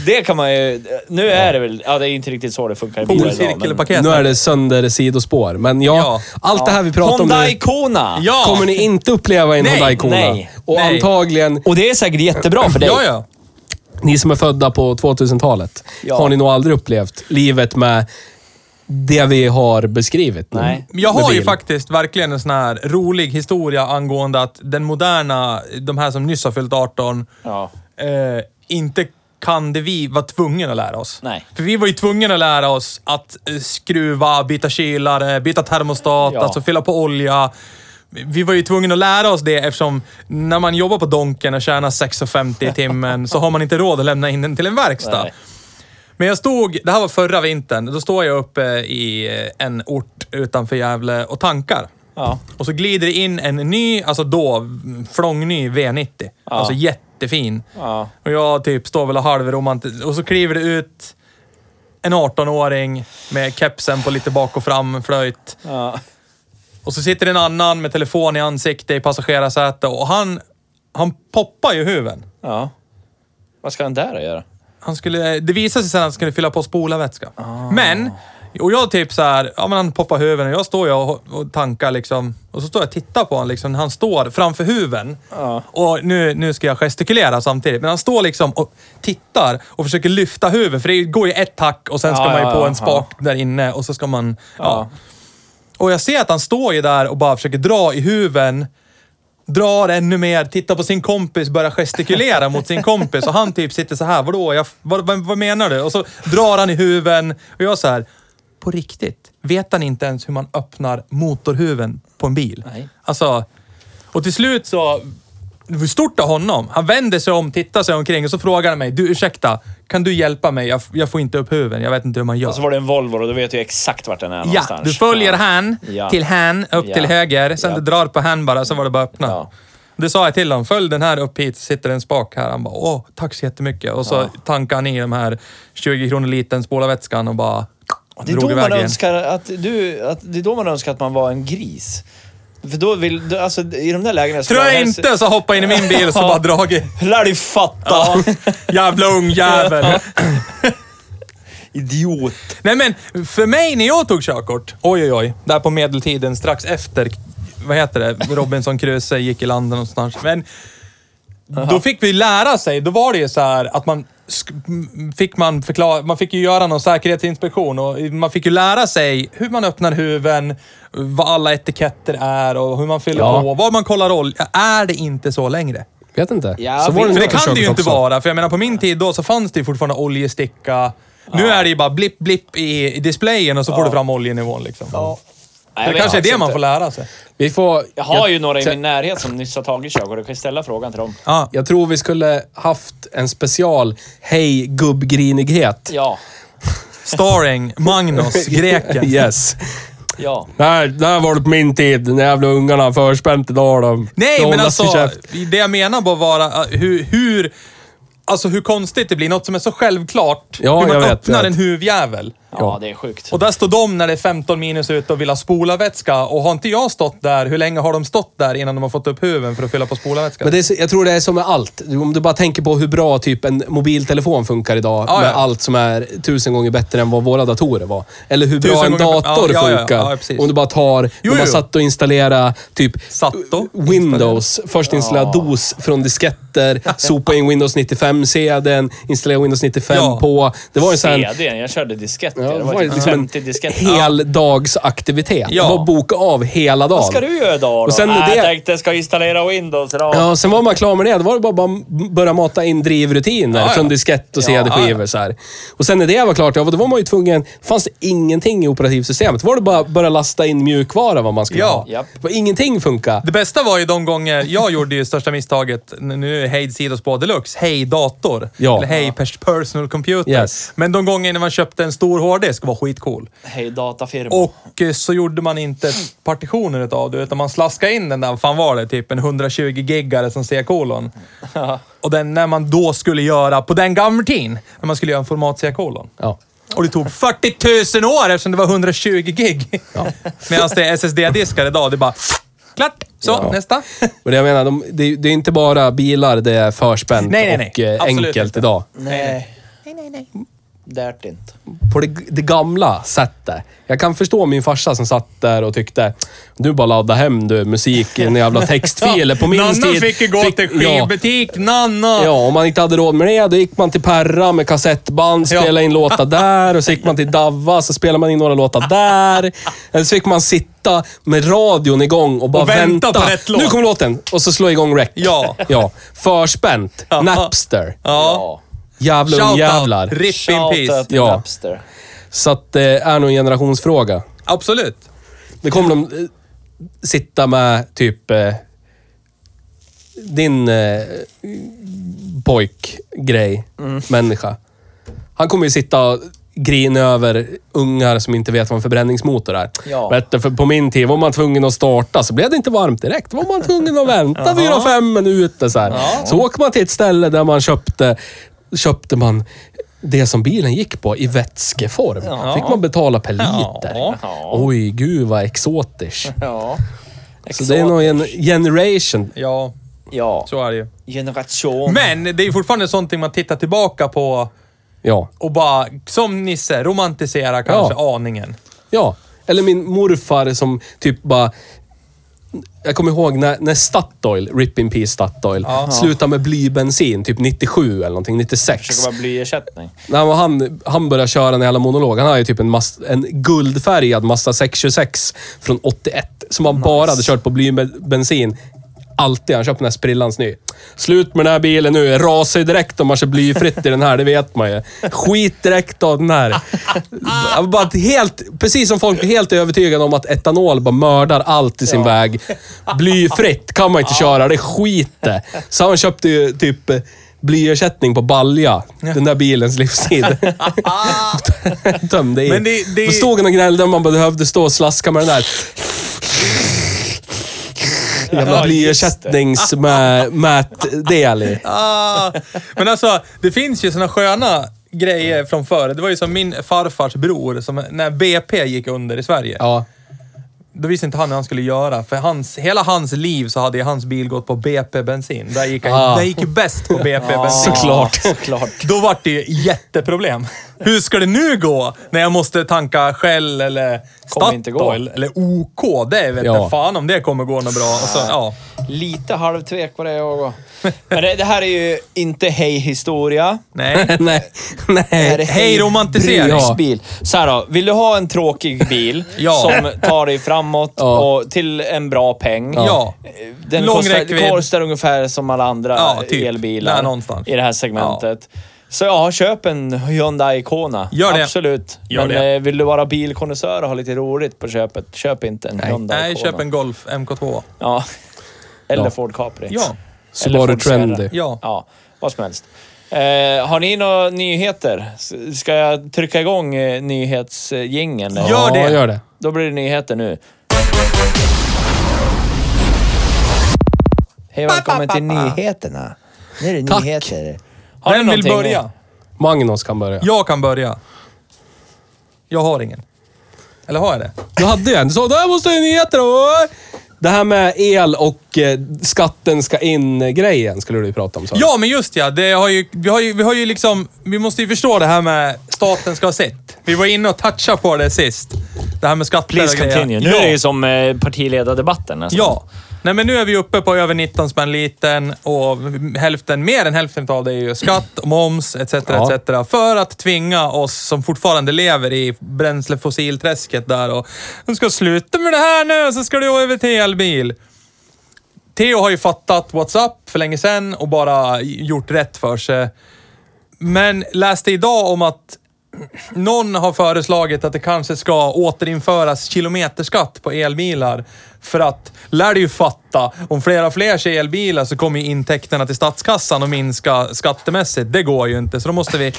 Det kan man ju... Nu är det väl... Ja, det är inte riktigt så det funkar i bilar idag. Men... Polcirkelpaketet. Nu är det sönder sidospår, men ja, Ja. allt det här vi pratar om Hyundai nu Kona! Ja! kommer ni inte uppleva i en Nej, Hyundai Kona. nej, Och nej. antagligen, Och det är säkert jättebra för dig. Ja, ja. ni som är födda på 2000-talet, Ja. har ni nog aldrig upplevt livet med det vi har beskrivit nu. Nej. Jag med har ju bil. faktiskt verkligen en sån här rolig historia angående att den moderna, de här som nyss har fyllt 18, Ja. eh, inte kan det vi var tvungna att lära oss. Nej. För vi var ju tvungna att lära oss att eh, skruva, byta kylare, byta termostat, Ja. alltså fylla på olja. Vi var ju tvungna att lära oss det eftersom när man jobbar på Donken och tjänar 6,50 i timmen så har man inte råd att lämna in den till en verkstad. Nej. Men jag stod, det här var förra vintern, då står jag uppe i eh, en ort utanför Gävle och tankar. Ja. Och så glider det in en ny, alltså då, flångny V90. Alltså jättefin. Ja. Och jag typ står väl och halvromant Och så kliver det ut en 18-åring med kepsen på lite bak och fram, flöjt. Ja. Och så sitter en annan med telefon i ansikte i passagerarsätet och han, han poppar ju huven. ja. Vad ska den där göra? Han skulle, det visade sig sen att han skulle fylla på spolarvätska. Ah. Men, och jag typ så här, ja men han poppar huven och jag står ju och, och tankar liksom. Och så står jag och tittar på honom liksom. Han står framför huven. Ah. Och nu, nu ska jag gestikulera samtidigt. Men han står liksom och tittar och försöker lyfta huven. För det går ju ett hack och sen ska Ja, man ju ja, på Ah, ja, en ja. Ah. spak där inne och så ska man... Ja. Ja. Och jag ser att han står ju där och bara försöker dra i huven drar ännu mer, tittar på sin kompis, börjar gestikulera mot sin kompis och han typ sitter så här, vadå, jag, vad, vad, vad menar du? Och så drar han i huven och jag så här, på riktigt, vet han inte ens hur man öppnar motorhuven på en bil? Nej. Alltså, och till slut så, det var stort av honom. Han vänder sig om, tittar sig omkring och så frågar han mig, du ursäkta, kan du hjälpa mig? Jag, jag får inte upp huven, jag vet inte hur man gör. Och så var det en Volvo och då vet jag exakt vart den är Ja, någonstans. du följer Ja. han Ja. till han upp Ja. till höger. Sen Ja. du drar på han bara, så var det bara öppna. Ja. Det sa jag till honom. Följ den här upp hit, sitter en spak här. Han bara, åh, tack så jättemycket. Och så tankade han i de här 20 kronor litern spolarvätskan och bara Det är, då man önskar att du, att, det är då man önskar att man var en gris. För då vill du, alltså i de där lägena... Tror jag inte! Så hoppa in i min bil och så bara dragit. Lär dig fatta! Jävla ungjävel! Idiot! Nej men, för mig när jag tog körkort, oj oj oj, där på medeltiden strax efter, vad heter det, Robinson Crusoe gick i land någonstans. Men då fick vi lära sig, då var det ju så här att man sk- m- fick man förklara, man fick ju göra någon säkerhetsinspektion och man fick ju lära sig hur man öppnar huven, vad alla etiketter är och hur man fyller Ja. på, vad man kollar olja. Är det inte så längre? Vet inte. Ja, så var För när det jag kan det ju körkort inte också. vara. För jag menar på min tid då så fanns det ju fortfarande oljesticka. Nu är det ju bara blipp, blipp i i displayen och så får du fram oljenivån liksom. Nej, jag Det vet kanske är det faktiskt man inte. får lära sig. Vi får... alltså, Jag har ju några i te- min närhet som nyss har tagit körkort. Jag kan ju ställa frågan till dem. Ja. Jag tror vi skulle haft en special Hej gubbgrinighet. Ja, Starring Magnus, greken. Yes. ja. Nej, det här var det på min tid. De jävla ungarna förspänt idag de. Nej, de men hållas i alltså käft. det jag menar bara vara uh, hur, hur... Alltså hur konstigt det blir. Något som är så självklart. Ja, hur man jag vet, öppnar jag vet. en huvudjävel. Ja, det är sjukt. Och där står de när det är 15 minus ute och vill ha spolarvätska. Och har inte jag stått där, hur länge har de stått där innan de har fått upp huven för att fylla på spolarvätska? Men det är, så- jag tror det är som med allt. Om du bara tänker på hur bra typ en mobiltelefon funkar idag Ja, med ja. allt som är tusen gånger bättre än vad våra datorer var. Eller hur bra Tusen en gånger- dator ja, ja, ja, funkar. ja, precis. om du bara tar... Jo, de har jo. satt och installera typ Satt och Windows. Först installera DOS från disketter, sopa in Windows 95-cdn, installera Windows 95 Ja. på... Det var ju sån här... CD, jag körde disketter. Ja, det var typ liksom en 50 disketter. heldagsaktivitet. Ja. Det var boka av hela dagen. Vad ska du göra idag då? Och sen Äh, det- Jag tänkte jag ska installera Windows idag. Ja, sen var man klar med det. Då var det bara- bara att börja mata in drivrutiner Ja, ja. från diskett och CD-skivor. så här. Och sen när det var klart, ja, då var man ju tvungen... fanns det ingenting i operativsystemet. Då var det bara att börja lasta in mjukvara vad man skulle Ja. ha. Japp. Det var ingenting funka. Det bästa var ju de gånger jag gjorde ju största misstaget, n- nu är Hejd sidospår deluxe, Hej dator. Ja. Eller Hej pers- personal computer. Yes. Men de gånger när man köpte en stor hårddisk var skitcool. Hej datafirma. Och eh, så gjorde man inte partitioner utav det, utan man slaskade in den där, vad fan var det, typ en 120 giggare som C-kolon. Och den, när man då skulle göra, på den gamla tiden, när man skulle göra en format C-kolon. Ja. Och det tog 40 000 år eftersom det var 120 gig. Medan det är SSD-diskar idag, det är bara klart. Så, nästa. Och det jag menar, de, det, det är inte bara bilar det är förspänt Nej, nej, nej. och eh, Absolut enkelt inte. idag. Nej, Nej, nej, nej. därt inte. På det, det gamla sättet. Jag kan förstå min farsa som satt där och tyckte du bara ladda hem du, musik i en jävla textfil. På min Nanna tid fick ju gå till Ja, skivbutik, Nanna! Ja, om man inte hade råd med det, då gick man till Perra med kassettband, Ja. spelade in låtar där och så gick man till Davva, så spelade man in några låtar där. Eller så fick man sitta med radion igång och bara Och vänta på rätt låt. Nu kommer låten! Och så slå igång rec. Ja. ja. Förspänt. Ja. Napster. Ja. Ja. Jävla Shoutout, ungjävlar. RIP in Shout peace. out till Ja. Napster. Så att det är nog en generationsfråga. Absolut. Det kommer de eh, sitta med typ eh, din eh, pojkgrej, människa. Han kommer ju sitta och grina över ungar som inte vet vad en förbränningsmotor är. Ja. Vet du, för på min tid var man tvungen att starta, så blev det inte varmt direkt. Då var man tvungen att vänta fyra, fem minuter. Så, här. så åker man till ett ställe där man köpte, köpte man det som bilen gick på i vätskeform. fick man betala per liter. Ja. Oj, gud vad exotiskt. Ja. Så det är nog en generation. Ja, Ja. så är det ju. Generation. Men det är ju fortfarande sånt man tittar tillbaka på Ja. och bara, som Nisse, romantisera kanske Ja. aningen. Ja. Eller min morfar som typ bara... Jag kommer ihåg när, när Statoil, RIP in Peace Statoil, slutade med blybensin, typ 97 eller någonting, 96. Försöker vara blyersättning. När man- han, han började köra en jävla monolog. Han har ju typ en, mas, en guldfärgad Mazda 626 från 81 som han bara hade kört på blybensin. Alltid. Han köpte den här sprillans ny. Slut med den här bilen nu. Jag rasar ju direkt om man kör blyfritt i den här, det vet man ju. Skit direkt av den här. Jag var Bara att helt, precis som folk är helt övertygade om att etanol bara mördar allt i sin väg. Blyfritt kan man inte köra, det skiter. Så han köpte ju typ eh, blyersättning på balja. Den där bilens livstid. Ah. Tömde i. Men det- det- Då stod han och gnällde om man behövde stå och slaska med den där. Jävla Ja, just blyersättnings-Matt-Deli. Ah, men alltså, det finns ju såna sköna grejer från förr. Det var ju som min farfars bror, som, när BP gick under i Sverige. Ja. Då visste inte han hur han skulle göra. För hans, hela hans liv så hade ju hans bil gått på BP-bensin. Där gick han, Ah. där gick ju bäst på BP-bensin. Såklart. Såklart. Då var det ju jätteproblem. Hur ska det nu gå när jag måste tanka Shell eller Kommer inte gå. Statoil eller OK? Det vet Ja. jag fan om det kommer gå något bra. Och så, ja. Lite halvtvek på det jag också. Men det, det här är ju inte hej historia. Nej. Nej. Är det Nej. Eh, Hej romantisering. Ja. Bil. Så här då, vill du ha en tråkig bil Ja. som tar dig framåt Ja. och till en bra peng. Eh, Ja. Den Lång kostar, räckvidd. kostar ungefär som alla andra Ja, typ. elbilar Där någonstans. i det här segmentet. Så ja, köp en Hyundai Kona. Gör det. Absolut. Gör Men det. eh, vill du vara bilkonnässör och ha lite roligt på köpet, köp inte en Hyundai Nej, Kona. köp en Golf MK2. Ja. Eller Ja. Ford Capri. Ja. Subaru Eller Ford Sierra. Trendy. Ja. Ja, vad som helst. Eh, har ni några nyheter? S- Ska jag trycka igång eh, nyhetsgängen? Ja. Gör det. Ja, gör det. Då blir det nyheter nu. Hej och välkommen till nyheterna. Nu är det Tack. nyheter. Har Vem ni vill någonting? börja? Magnus kan börja. Jag kan börja. Jag har ingen. Eller har jag det? Du hade ju en. Du sa där måste jag nyheter och... Det här med el och eh, skatten ska in-grejen skulle du ju prata om. Så. Ja, men just ja. Det har ju, vi, har ju, vi har ju liksom... Vi måste ju förstå det här med staten ska ha sitt. Vi var inne och touchade på det sist. Det här med skatter Please och grejer. continue. Nu ja. är det ju som eh, partiledardebatten nästan. Ja. Nej, men nu är vi uppe på över 19 spänn liten och hälften, mer än hälften av det är ju skatt, och moms etc. Ja. etc. För att tvinga oss som fortfarande lever i bränslefossilträsket där och du ska sluta med det här nu så ska du gå över till elbil. Theo har ju fattat WhatsApp för länge sedan och bara gjort rätt för sig. Men läste idag om att någon har föreslagit att det kanske ska återinföras kilometerskatt på elbilar. För att, lär du ju fatta, om flera och fler kör elbilar så kommer ju intäkterna till statskassan att minska skattemässigt. Det går ju inte, så då måste vi...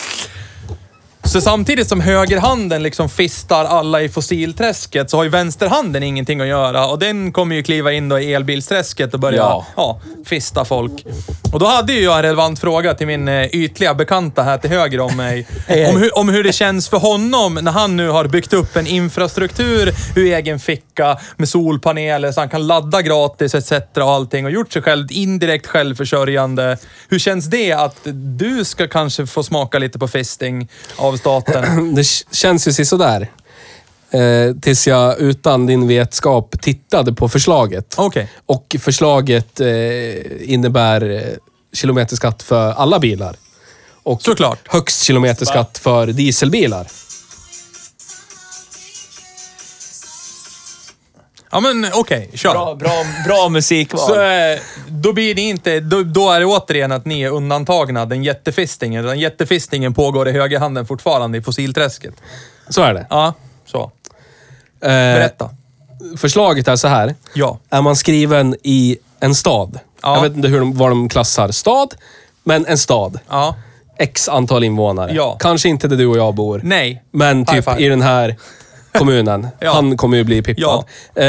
Så samtidigt som högerhanden liksom fistar alla i fossilträsket så har ju vänsterhanden ingenting att göra och den kommer ju kliva in då i elbilsträsket och börja Ja. ja. fista folk. Och då hade ju jag en relevant fråga till min eh, ytliga bekanta här till höger om mig. om, hur, om hur det känns för honom när han nu har byggt upp en infrastruktur ur egen ficka med solpaneler så han kan ladda gratis etc. och allting och gjort sig själv indirekt självförsörjande. Hur känns det att du ska kanske få smaka lite på fisting av staten? Mm, Det k- känns ju sådär. Eh, tills jag utan din vetskap tittade på förslaget. Okej. Och förslaget eh, innebär eh, kilometerskatt för alla bilar. Och Såklart. högst kilometerskatt för dieselbilar. Ja men okej, kör. Bra, bra, bra musikval. Så, eh, då blir det inte, då, då är det återigen att ni är undantagna den jättefistingen. Den jättefistingen pågår i högerhanden fortfarande i fossilträsket. Så är det. Ja, så. Eh, Berätta. förslaget är så här. Ja. Är man skriven i en stad. Ja. Jag vet inte hur de, vad de klassar stad, men en stad. Ja. X antal invånare. Ja. Kanske inte där du och jag bor. Nej. Men High typ five. i den här kommunen. Ja. Han kommer ju bli pippad. Eh,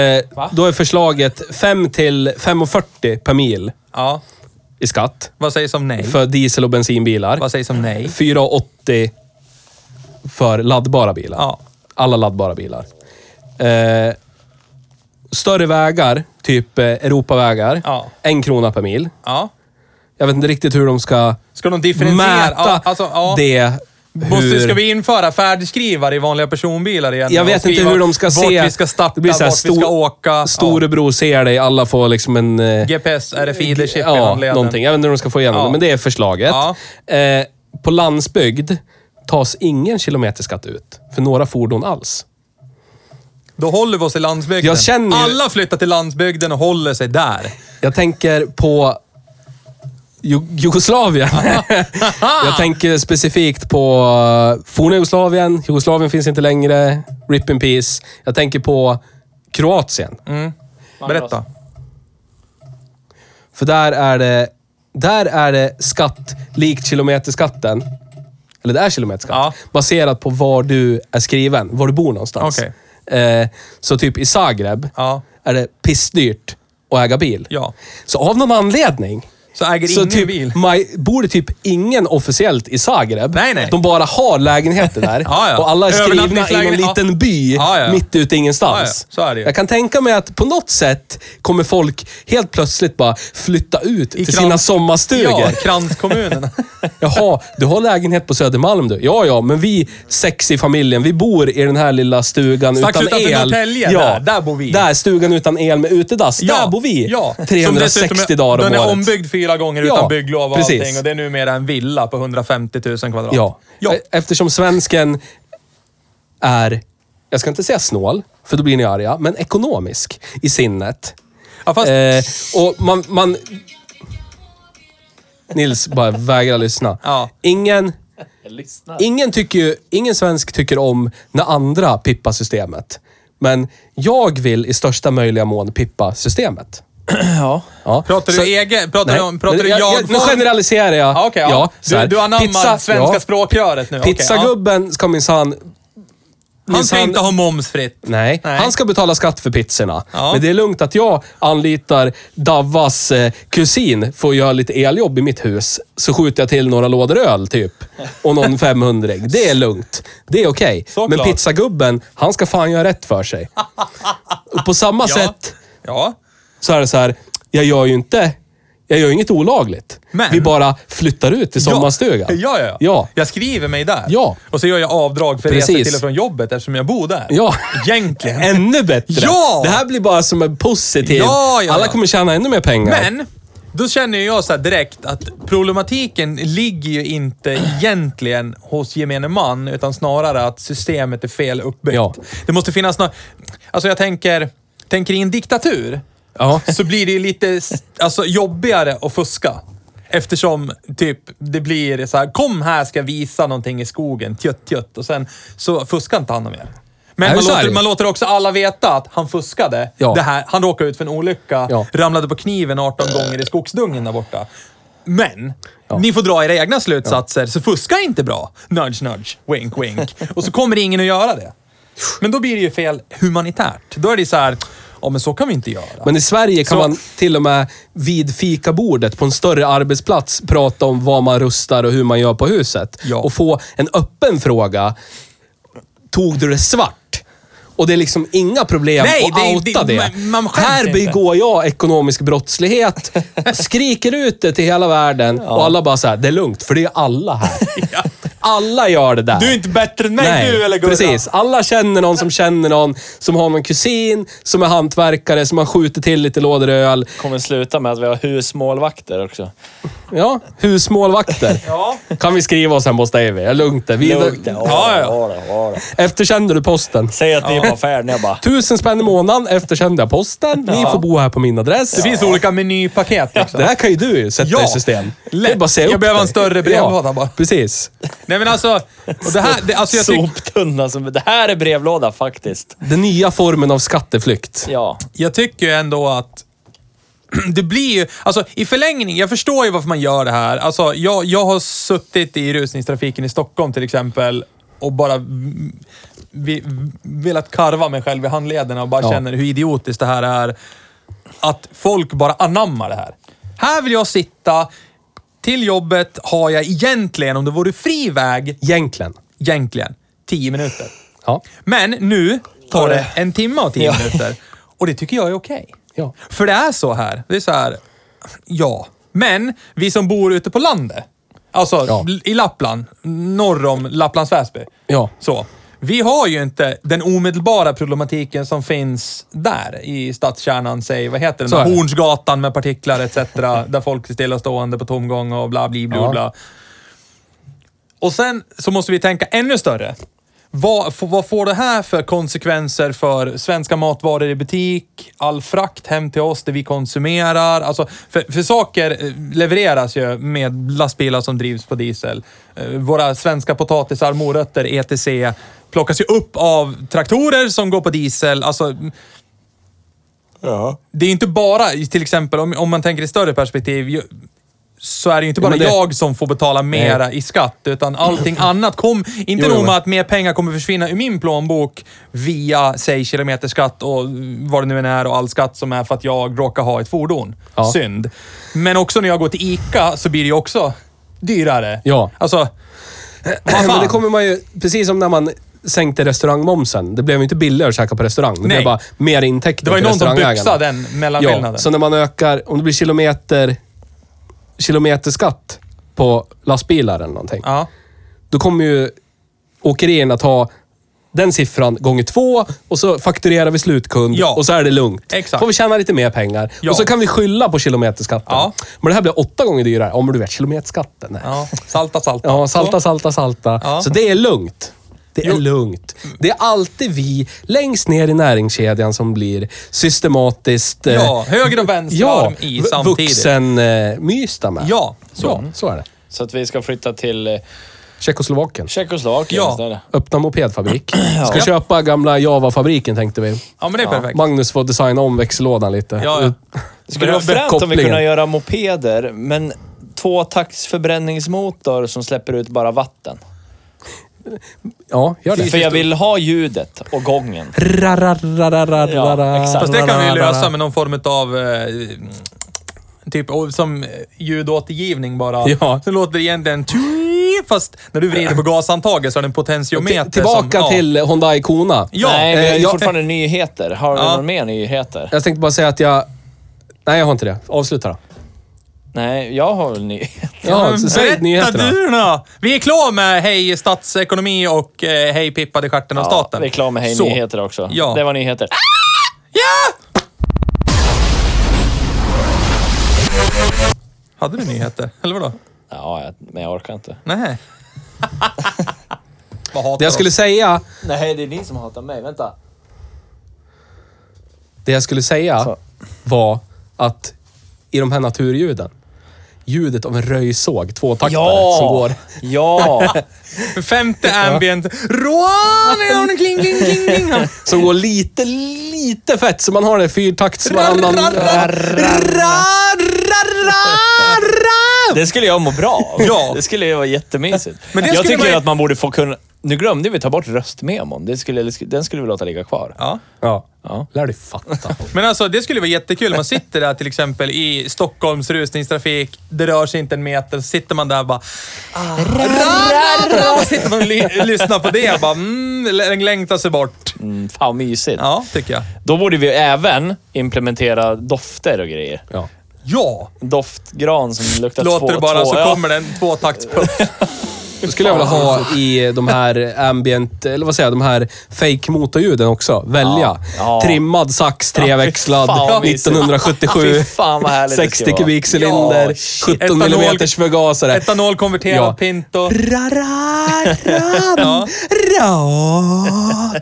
då är förslaget 5 till 5,40 per mil Ja. i skatt Vad sägs om nej? för diesel och bensinbilar. Vad sägs om nej? 4,80 för laddbara bilar. Ja. Alla laddbara bilar. Eh, större vägar, typ eh, Europavägar. Ja. En krona per mil. Ja. Jag vet inte riktigt hur de ska Ska de differentiera? mäta Ja, alltså, ja. det. Måste, hur- ska vi införa färdskrivare i vanliga personbilar igen? Jag Och vet inte skriva hur de ska se... vart vi ska starta, Det blir så här vart vi stor- ska åka. Ja. Storebror ser dig, alla får liksom en... eh, GPS, RFID-chip i ja, handleden. någonting. Jag vet inte hur de ska få igenom Ja. det, men det är förslaget. Ja. Eh, på landsbygd tas ingen kilometerskatt ut för några fordon alls. Då håller vi oss i landsbygden. Jag känner ju- Alla flyttar till landsbygden och håller sig där. Jag tänker på Ju- Jugoslavien. jag tänker specifikt på eh, forna Jugoslavien. Jugoslavien finns inte längre. Rip in peace. Jag tänker på Kroatien. Berätta. För där är det, där är det skatt likt kilometerskatten. Eller det är kilometerskatt. Ja. Baserat på var du är skriven, var du bor någonstans. Okej. Eh, så typ i Zagreb Ja. är det pissdyrt och äga bil. Ja. Så av någon anledning Så äger så ingen typ, bil. Maj, bor det typ ingen officiellt i Zagreb. Nej, nej. De bara har lägenheter där. Ja, ja. Och alla är skrivna i någon Övernattningslägen- liten by Ja, ja. mitt ute i ingenstans. Ja, ja. Så är det ju. Jag kan tänka mig att på något sätt kommer folk helt plötsligt bara flytta ut till sina krans- sommarstugor. Ja, kranskommunerna. Jaha, du har lägenhet på Södermalm du? Ja, ja, men vi sex i familjen, vi bor i den här lilla stugan Strax utan utanför el. Norrtälje, ja, där. Där bor vi. Där, stugan utan el med utedass. Ja, där bor vi. Ja. Som dessutom 360 är- dagar om Den är året. ombyggd fyra gånger Ja, utan bygglov och precis. allting. Och det är numera en villa på 150 000 kvadrat. Ja. ja. E- Eftersom svensken är, jag ska inte säga snål, för då blir ni arga, men ekonomisk i sinnet. ja fast, Eh, och man, man... Nils bara vägrar lyssna. Ja. Ingen... Ingen, tycker ju, ingen svensk tycker om när andra pippar systemet. Men jag vill i största möjliga mån pippa systemet. Ja. Ja. Pratar du Så- egen... Pratar Nej, du om... Pratar men du jag, jag... jag, nu generaliserar jag. Ja, okej, ja. så här. du, du anammar Pizza- svenska ja. språkröret nu. okej, ja. Pizzagubben ska minsann... Han ska minsann- inte ha momsfritt. Nej. Nej. han ska betala skatt för pizzorna. Ja. Men det är lugnt att jag anlitar Davvas eh, kusin för att göra lite eljobb i mitt hus. Så skjuter jag till några lådor öl typ. Och någon 500 Det är lugnt. Det är okej. Såklart. Men pizzagubben, han ska fan göra rätt för sig. Och på samma Ja. sätt Ja. så är det så här, jag gör ju inte... Jag gör inget olagligt. Men- Vi bara flyttar ut till sommarstugan. Ja, ja, ja, ja. Jag skriver mig där. Ja. Och så gör jag avdrag för resor Precis. till och från jobbet eftersom jag bor där. Ja. Egentligen. Ännu bättre! Ja! Det här blir bara som en positiv... Ja, ja, Alla ja. kommer tjäna ännu mer pengar. Men, då känner ju jag så här direkt att problematiken ligger ju inte egentligen hos gemene man, utan snarare att systemet är fel uppbyggt. Ja. Det måste finnas något... Alltså jag tänker, tänker i en diktatur Ja. så blir det ju lite s- alltså, jobbigare att fuska. Eftersom typ, det blir så här, kom här ska jag visa någonting i skogen, tjött tjött. Och sen så fuskar inte han mer. Men Nej, man så är det låter, ju. man låter också alla veta att han fuskade. Ja. Det här, han råkade ut för en olycka, Ja. ramlade på kniven Eh. 18 gånger i skogsdungen där borta. Men, ni får dra era egna slutsatser, så fuska inte bra. Nudge, nudge, wink, wink. Och så kommer ingen att göra det. Men då blir det ju fel humanitärt. Då är det så här, ja men så kan vi inte göra. Men i Sverige kan Så- man till och med vid fikabordet på en större arbetsplats prata om vad man rustar och hur man gör på huset. Ja. Och få en öppen fråga. Tog du det svart? Och det är liksom inga problem Nej, att det- det- outa det. man- man skäms Här inte. begår jag ekonomisk brottslighet, skriker ut det till hela världen och alla bara så här, det är lugnt för det är alla här. Alla gör det där. Du är inte bättre än mig du eller Gurra. precis. Alla känner någon som känner någon, som har någon kusin, som är hantverkare, som har skjutit till lite lådor öl. Kommer sluta med att vi har husmålvakter också. Ja, husmålvakter. Ja. Kan vi skriva oss hemma hos Davy? Jag lugnt det. Vi, Lugnt det. Ja, ja. Ja, ja, ja. Efterkände du posten? Säg att ni är på affären. Jag bara... Tusen spänn i månaden efterkände jag posten. Ni får bo här på min adress. Det finns olika menypaket liksom. Det här kan ju du ju sätta Ja, i system. lätt. Det är bara att säga Jag upp behöver dig. en större brevlåda bara. Precis. Nej men alltså, och det här, det, alltså jag tycker... Soptunna som... Det här är brevlåda faktiskt. Den nya formen av skatteflykt. Ja. jag tycker ju ändå att det blir ju, alltså i förlängning, jag förstår ju varför man gör det här. Alltså jag, jag har suttit i rusningstrafiken i Stockholm till exempel och bara v- vi- velat karva mig själv i handlederna och bara Ja. känner hur idiotiskt det här är. Att folk bara anammar det här. Här vill jag sitta, till jobbet har jag egentligen, om det vore fri väg, Egentligen. egentligen 10 minuter. Ja. Men nu tar det en timme och tio Ja. minuter. Och det tycker jag är okej. Ja. För det är så här. Det är så här. Ja. Men vi som bor ute på landet. Alltså Ja. l- i Lappland. Norr om Lapplands Väsby. Ja. Så. Vi har ju inte den omedelbara problematiken som finns där i stadskärnan, säg, vad heter Så den? är det. Hornsgatan med partiklar etc. där folk är stillastående på tomgång och bla bli bla Ja. bla. Och sen så måste vi tänka ännu större. Vad, f- vad får det här för konsekvenser för svenska matvaror i butik, all frakt hem till oss, det vi konsumerar? Alltså, för, för saker eh, levereras ju med lastbilar som drivs på diesel. Eh, Våra svenska potatisar, morötter, etc. plockas ju upp av traktorer som går på diesel. Alltså, det är inte bara, till exempel om, om man tänker i större perspektiv, ju, så är det ju inte bara men det- jag som får betala mera i skatt, utan allting annat. Kom, inte Jo, nog jo. med att mer pengar kommer försvinna ur min plånbok via, säg, kilometerskatt och vad det nu än är och all skatt som är för att jag råkar ha ett fordon. Ja. Synd. Men också när jag går till ICA så blir det ju också dyrare. Ja. Alltså, vad Men fan? det kommer man ju, precis som när man sänkte restaurangmomsen. Det blev ju inte billigare att käka på restaurang. Det Nej. blev bara mer intäkter Det var ju till någon som restaurangägarna. byxade den mellanskillnaden. Ja, så när man ökar, om det blir kilometer, kilometerskatt på lastbilar eller någonting. Ja. Då kommer ju åkerierna ta den siffran gånger två och så fakturerar vi slutkund Ja. och så är det lugnt. Exakt. får vi tjäna lite mer pengar. Ja. Och så kan vi skylla på kilometerskatten. Ja. Men det här blir åtta gånger dyrare. Ja, men du vet kilometerskatten. Nej. Ja, salta, salta. Ja, salta, salta, salta. Ja. Så det är lugnt. Det är Jo. lugnt. Det är alltid vi längst ner i näringskedjan som blir systematiskt... eh, Ja, höger och vänster ja, arm i samtidigt. vuxenmysta med. Ja, så. så, så är det. Så att vi ska flytta till eh, Tjeckoslovakien. Tjeckoslovakien Ja. istället. Öppna mopedfabrik. Ska köpa gamla Java-fabriken tänkte vi. Ja, men det är perfekt. Magnus får designa om växellådan lite. Ja, ja. Det skulle vara Behöver- fränt om vi kopplingen. kunde göra mopeder, men tvåtaktsförbränningsmotor som släpper ut bara vatten. Ja, gör det. För jag vill ha ljudet och gången. Ja, exakt. Fast det kan vi lösa med någon form av... Eh, typ och som ljudåtergivning bara. Ja. Så låter det egentligen... tju- Fast när du vrider på gasantaget så har den potentiometer Till- Tillbaka som, till Hyundai Kona. Ja. Nej, vi Eh, har ju jag- fortfarande nyheter. Har du Ja. några mer nyheter? Jag tänkte bara säga att jag... Nej, jag har inte det. Avsluta då. Nej, jag har väl nyheter. Ja, Ja, så säg nyheterna. Mm, du då! Vi är klara med Hej statsekonomi och eh, Hej pippade stjärten av staten. vi är klara med Hej Så. Nyheter också. Ja. Det var nyheter. Hade du nyheter? Eller vadå? Ja, jag, men jag orkar inte. Nej. Vad hatar Det jag skulle oss. säga, Nej, det är ni som hatar mig. Vänta. det jag skulle säga var att i de här naturljuden, ljudet av en röjsåg, tvåtaktare Ja! som går. Ja! Femte ambient. Rån! Kling, kling, kling, kling. Som går lite, lite fett. Så man har det fyrtakts varannan... Det skulle jag må bra av. Ja. Det skulle ju vara jättemysigt. Men det jag skulle tycker man ju- att man borde få kunna... Nu glömde vi ta bort röstmemon. Det skulle, den skulle vi låta ligga kvar. Ja. Ja. Ja. Lär dig fatta. Men alltså det skulle vara jättekul. Man sitter där till exempel i Stockholms rusningstrafik. Det rör sig inte en meter. Så sitter man där och bara... ah, ra, ra, ra. Och sitter man och ly- lyssnar på det. och Bara, mm, lä- längtar sig bort. Mm, fan vad mysigt. Ja, tycker jag. Då borde vi även implementera dofter och grejer. Ja. Ja! Doftgran som luktar två... Låter det bara två, så ja. kommer den tvåtaktspuff. Då skulle jag vilja alltså. ha i de här ambient, eller vad säger jag, de här fake motorljuden också. Välja. Ja. Trimmad sax, treväxlad, fy fan vad mysigt. Fy 1977. fan vad härligt det skulle 60 vara. kubikcylinder, Ja, shit. 17 Etanol- mm förgasare. Etanol konverterad Ja. Pinto. Ra-ra-ram, ra.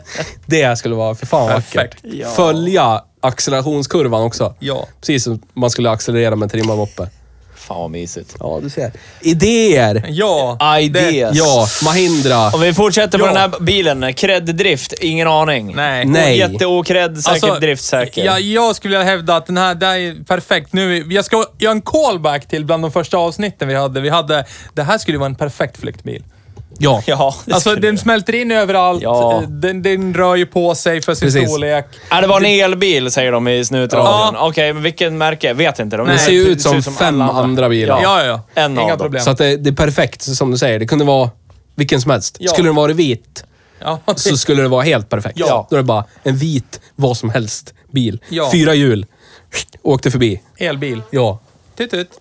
Det skulle vara, för fan vad vackert. Perfekt. Ja. Följa accelerationskurvan också. Ja. Precis som man skulle accelerera med en trimmad moppe. Fan vad mysigt. Ja, du ser. Idéer! Ja. Ideas. Ja, Mahindra. Om vi fortsätter på Ja. den här bilen. Cred-drift, ingen aning. Nej. Nej. Jätteokred, säkert driftsäker. Jag, Alltså, jag skulle vilja hävda att den här, det här är perfekt. Nu, jag ska göra en callback till bland de första avsnitten vi hade. Vi hade, det här skulle ju vara en perfekt flyktbil. Ja. Ja, det Alltså skulle den smälter in överallt. Ja. Den, den rör ju på sig för sin Precis. storlek. Ja, Äh, det var en elbil säger de i snutradion. Ja. Okej, men vilken märke? Vet inte. De Det ser ju ut som fem alla andra bilar. Ja, ja, ja. En Inga av dem. problem. Så att det, det är perfekt, som du säger. Det kunde vara vilken som helst. Ja. Skulle den vara vit ja. så skulle det vara helt perfekt. Ja. Då är det bara en vit, vad som helst, bil. Ja. Fyra hjul. Åkte förbi. Elbil. Ja. Tut, tut.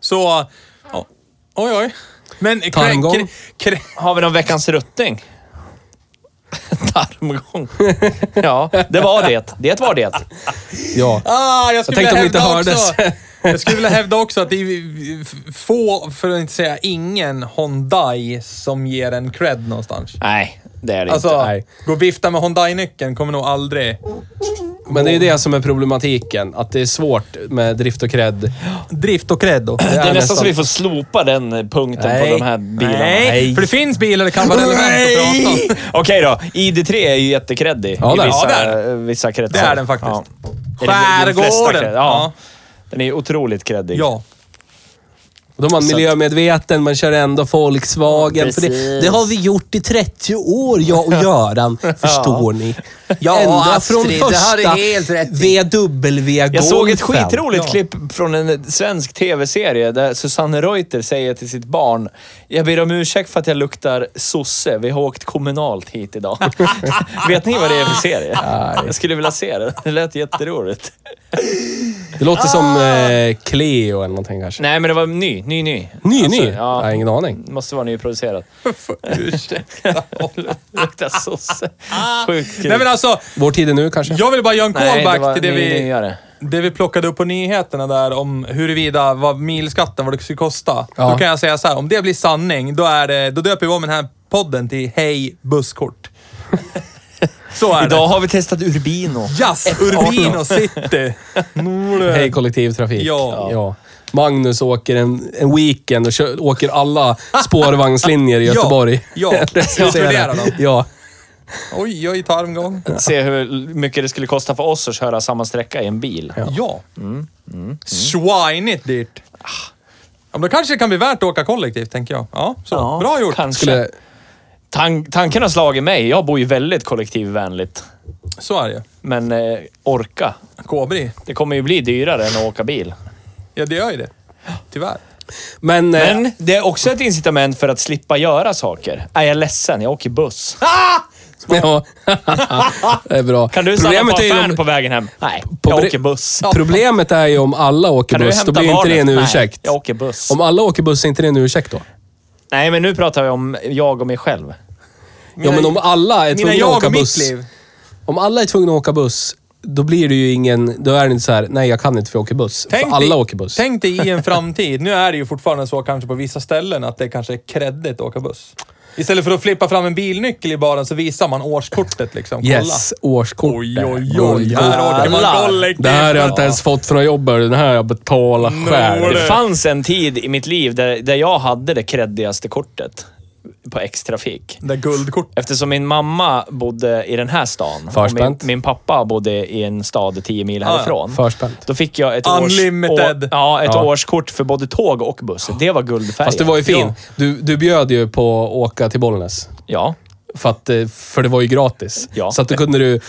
Så... ja. Oj, oj. Men... Tarmgång. krä- krä- Har vi någon veckans ruttning? Tarmgång. Ja, det var det. Det var det. Ja. Ah, jag skulle Jag vilja tänkte hävda om det inte också. jag skulle vilja hävda också att det är få, för att inte säga ingen, Hyundai som ger en cred någonstans. Nej, det är det inte. Alltså, nej. gå och vifta med Hyundai-nyckeln kommer nog aldrig... Men det är ju det som är problematiken. Att det är svårt med drift och cred. Drift och cred då. Det är nästan nästan- så vi får slopa den punkten Nej. på de här bilarna. Nej, för det finns bilar det kan vara relevant att prata om. Okej då. ID3 är ju jättekreddig Ja, i det är- vissa, ja, det är vissa kretsar. Det är den faktiskt. Är det- i de flesta Skärgården. kretsar, Ja. Ja. Den är otroligt kreddig. Ja. Och Då är man miljömedveten, man kör ändå Volkswagen. För det, Precis. det har vi gjort i 30 år, jag och Göran. Förstår ni? Ja, Ända Astrid, från det har första du helt rätt i. VW-golfen. Jag såg ett skitroligt Ja. klipp från en svensk tv-serie där Susanne Reuter säger till sitt barn Jag ber om ursäkt för att jag luktar sosse. Vi har åkt kommunalt hit idag. Vet ni vad det är för serie? Jag skulle vilja se det. Det lät jätteroligt. Det låter Ah! som eh, Cleo eller någonting kanske. Nej, men det var ny. Ny, ny. Ny, Alltså, ny? Jag har ingen aning. Måste vara nyproducerat. Luktar sosse. Sjukt kul. Nej men alltså, Vår tid är nu kanske? jag vill bara göra en Nej, callback var till det ny- vi, nyare. det vi plockade upp på nyheterna där om huruvida vad milskatten, vad det skulle kosta. Ja. Då kan jag säga så här, om det blir sanning, då, är det, då döper vi om den här podden till Hej busskort. så är Idag har vi testat Urbino. det. Yes, Urbino City. Nordö. Hej kollektivtrafik. Ja. Magnus åker en, en weekend och kör, åker alla spårvagnslinjer i Ja, Göteborg. ja. Recenserar. Inkluderar dem. Ja. Oj, oj, tarmgång. Se hur mycket det skulle kosta för oss att köra samma sträcka i en bil. Ja. Mm, Swinigt dyrt. Ja, men då kanske det kan bli värt att åka kollektivt, tänker jag. Ja, så. Ja, Bra gjort. Kanske. Skulle, Tan- tanken har slagit mig. Jag bor ju väldigt kollektivvänligt. Så är det ju. Men eh, orka. Kobri. Det kommer ju bli dyrare än att åka Eh. bil. Ja, det gör ju det. Tyvärr. men, eh, Men det är också ett incitament för att slippa göra saker. Är jag är ledsen, jag åker buss. Ja, det är bra. Kan du stanna på är ju affären om, på vägen hem? Nej, på jag bre- åker buss. Problemet är ju om alla åker Kan du buss, då hämta blir ju inte det en barnet? ursäkt. Nej, jag åker buss. Om alla åker buss, är inte det en ursäkt då? Nej, men nu pratar vi om jag och mig själv. ja, men om alla är Mina tvungna att jag åka och buss. mitt liv. Om alla är tvungna att åka buss, då blir det ju ingen... Då är det inte så här, nej jag kan inte för jag åker buss. för alla dig, åker buss. Tänk dig i en framtid. Nu är det ju fortfarande så kanske på vissa ställen att det kanske är kreddigt att åka buss. Istället för att flippa fram en bilnyckel i baren så visar man årskortet liksom. Kolla. yes, årskort. Oj, oj, oj. Här åker man Alla. kollektivt. Det här har jag inte ens fått från jobbet. Den här har jag betalat Nål. själv. Det fanns en tid i mitt liv där, där jag hade det kreddigaste kortet på X-trafik. Det där guldkortet. Eftersom min mamma bodde i den här stan och min, Förspänt. min pappa bodde i en stad 10 mil ja. härifrån. Förspänt. Då fick jag ett, Unlimited. Års, å, ja, ett Ja. årskort för både tåg och buss. Det var guldfärgat. Fast du var ju fin. Ja. Du, du bjöd ju på att åka till Bollnäs. ja. För, att, eh, för det var ju gratis. Ja. Så att då kunde du...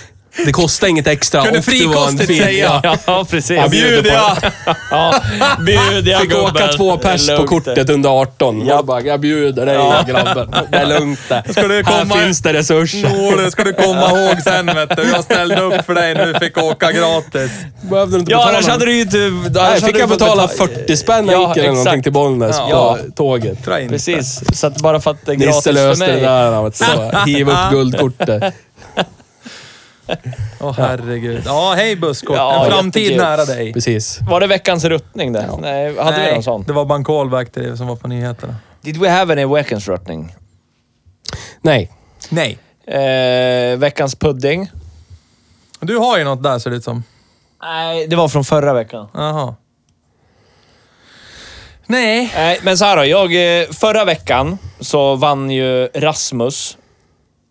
Det kostade inget extra. Kunde och du var en frikostigt fin- säga. Ja. Ja, precis. Jag Bjuder jag! Ja, bjuder jag Fick åka gubben. två pers Det är på lugnt. kortet under 18. Ja. Jag bara, jag bjuder dig grabben. Det är lugnt det. Ska du komma- Här finns det resurser. Nå, det ska du komma ihåg sen vet du. Jag ställde upp för dig när du fick åka gratis. Behövde du inte Ja, betala annars någon- hade du ju inte... annars Nej, hade fick du jag fått betala 40 spänn Ja, enkel eller någonting exakt. till Bollnäs Ja. på tåget. Dra in. Precis, så att bara för att det är gratis Nisse för löste mig. det där. han var Så, hiv upp guldkortet. Åh herregud. Ja, hej busskort. Ja, en framtid jättekul. nära dig. Precis. Var det veckans ruttning där? Nej, hade vi Nej, någon sån? det var bara en callback till det som var på nyheterna. Did we have any veckans ruttning? Nej. Nej. Eh, veckans pudding? Du har ju något där ser det ut som. Nej, det var från förra veckan. Jaha. Nej. Nej, men så här då. Jag, eh, förra veckan så vann ju Rasmus.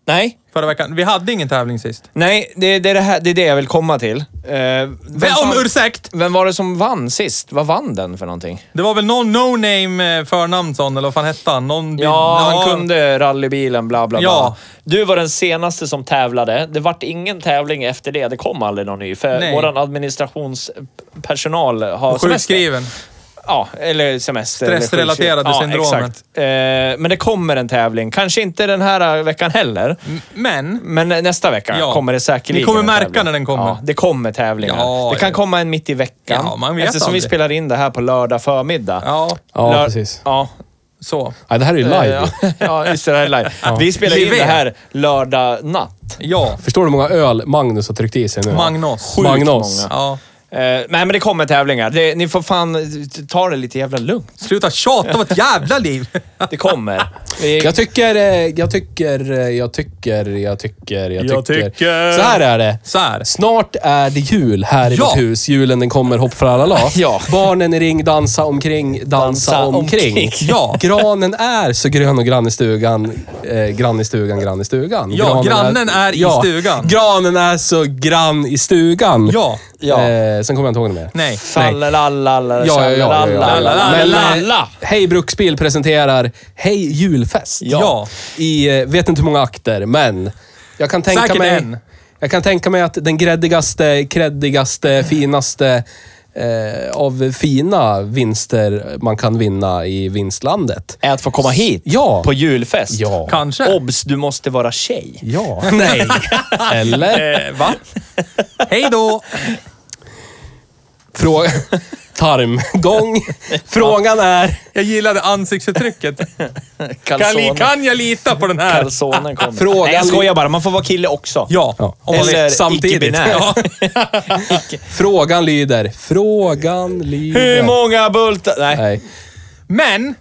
Nej, Förra veckan. Vi hade ingen tävling sist. nej, det, det, är det, här, det är det jag vill komma till. Eh, vem, Om fan- ursäkt! vem var det som vann sist? Vad vann den för någonting? Det var väl någon no-name eh, förnamn sån, eller vad fan hette han? Någon, Ja, han kunde rallybilen, bla bla bla. Ja. Du var den senaste som tävlade. Det vart ingen tävling efter det. Det kom aldrig någon ny, för Nej. vår administrationspersonal har semester. Sjukskriven. Ja, eller semester. eller Stressrelaterade sjukskriven. syndromet. Ja, exakt. Eh, men det kommer en tävling. Kanske inte den här eh, veckan heller. Men, Men nästa vecka Mm. Ja. kommer det säkerligen Ni kommer en märka tävling. när den kommer. Ja, det kommer tävlingar. Ja, det kan ja. komma en mitt i veckan. Ja, man vet Eftersom aldrig. vi spelar in det här på lördag förmiddag. ja, Ja, Lör- precis. Ja, Eh, så. Nej, det här är ju live. Ja, ja, just det. Det här är live. Vi spelar in Live. det här lördag natt. Ja. Förstår du hur många öl Magnus har tryckt i sig nu? Magnus. Sjukt Magnus. många. Ja. Eh, nej, men det kommer tävlingar. Det, ni får fan ta det lite jävla lugnt. Sluta tjata om ett jävla liv. Det kommer. Vi, Jag tycker, eh, jag tycker, eh, jag tycker, jag tycker, jag tycker. Jag tycker. Så här är det. Så här. Snart är det jul här i Ja. vårt hus. Julen den kommer, hopp för alla la. Ja. Barnen i ring, dansa omkring, dansa, Dansa omkring. omkring. Ja. Granen är så grön och grann i stugan. Eh, grann i stugan, grann i stugan. Ja, grannen är i stugan. Granen är så grann i stugan. Ja. Ja. Eh, sen kommer jag inte ihåg det mer. Nej. Fallalalla, Ja, ja, ja, ja, ja, tjallalalla. ja. Men, eh, Lalla. Hej Bruksbil presenterar Hej Julfest. Ja. I, eh, vet inte hur många akter, men jag kan tänka Säkert mig... en. Jag kan tänka mig att den gräddigaste, kreddigaste, finaste eh, av fina vinster man kan vinna i vinstlandet. Är att få komma hit. Ja. På julfest. Ja. Kanske. Obs, du måste vara tjej. Ja. Nej. Eller? Eh, va? Hej då! Fråga... Tarmgång. Frågan är... Jag gillade ansiktsuttrycket. Kan, li- Calzone. kan jag lita på den här? Calzonen kommer. Frågan- Nej, jag skojar bara. Man får vara kille också. Ja. Om man Eller vill. samtidigt. icke-binär. Ja. Frågan lyder... Frågan lyder... Hur många bultar... Nej. Nej. Men,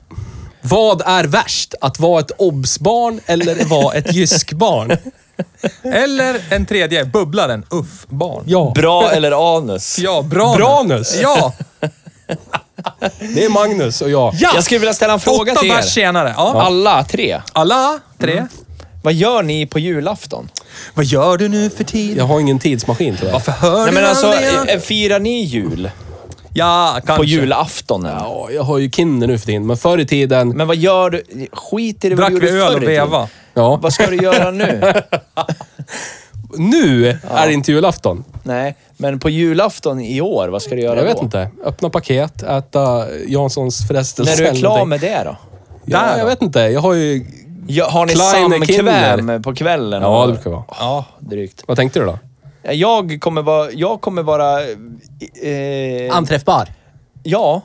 Vad är värst? Att vara ett obsbarn eller vara ett jyskbarn? eller en tredje, bubblaren. Uff, barn. Ja. Bra eller anus? Ja, bra. Branus. Ja, Det är Magnus och jag. Ja. Jag skulle vilja ställa en fråga åtta till bärs er. Mm. senare. Ja. Alla tre. Alla tre. Vad gör ni på julafton? Vad gör du nu för tid? Jag har ingen tidsmaskin tyvärr. Varför hör Nej, du men alltså, aldrig? eh, firar ni jul Ja, kanske. på julafton? eller? Ja, jag har ju kinder nu för tiden, men förr i tiden... Men vad gör du? Skiter i vad Drack du gjorde vi öl förr och i tiden? veva? Ja. Vad ska du göra nu? Nu är det inte julafton. Nej, men på julafton i år, vad ska du göra Jag vet då? inte. Öppna paket, äta Janssons frestelse. När du är eller klar någonting. med det då? Ja, jag vet inte. Jag har ju... Ja, har ni Kleine Kinder. samkväm på kvällen? Ja, Och- det brukar vara. Ja, drygt. Vad tänkte du då? Ja, Jag kommer vara... Jag kommer vara... Eh, Anträffbar. ja.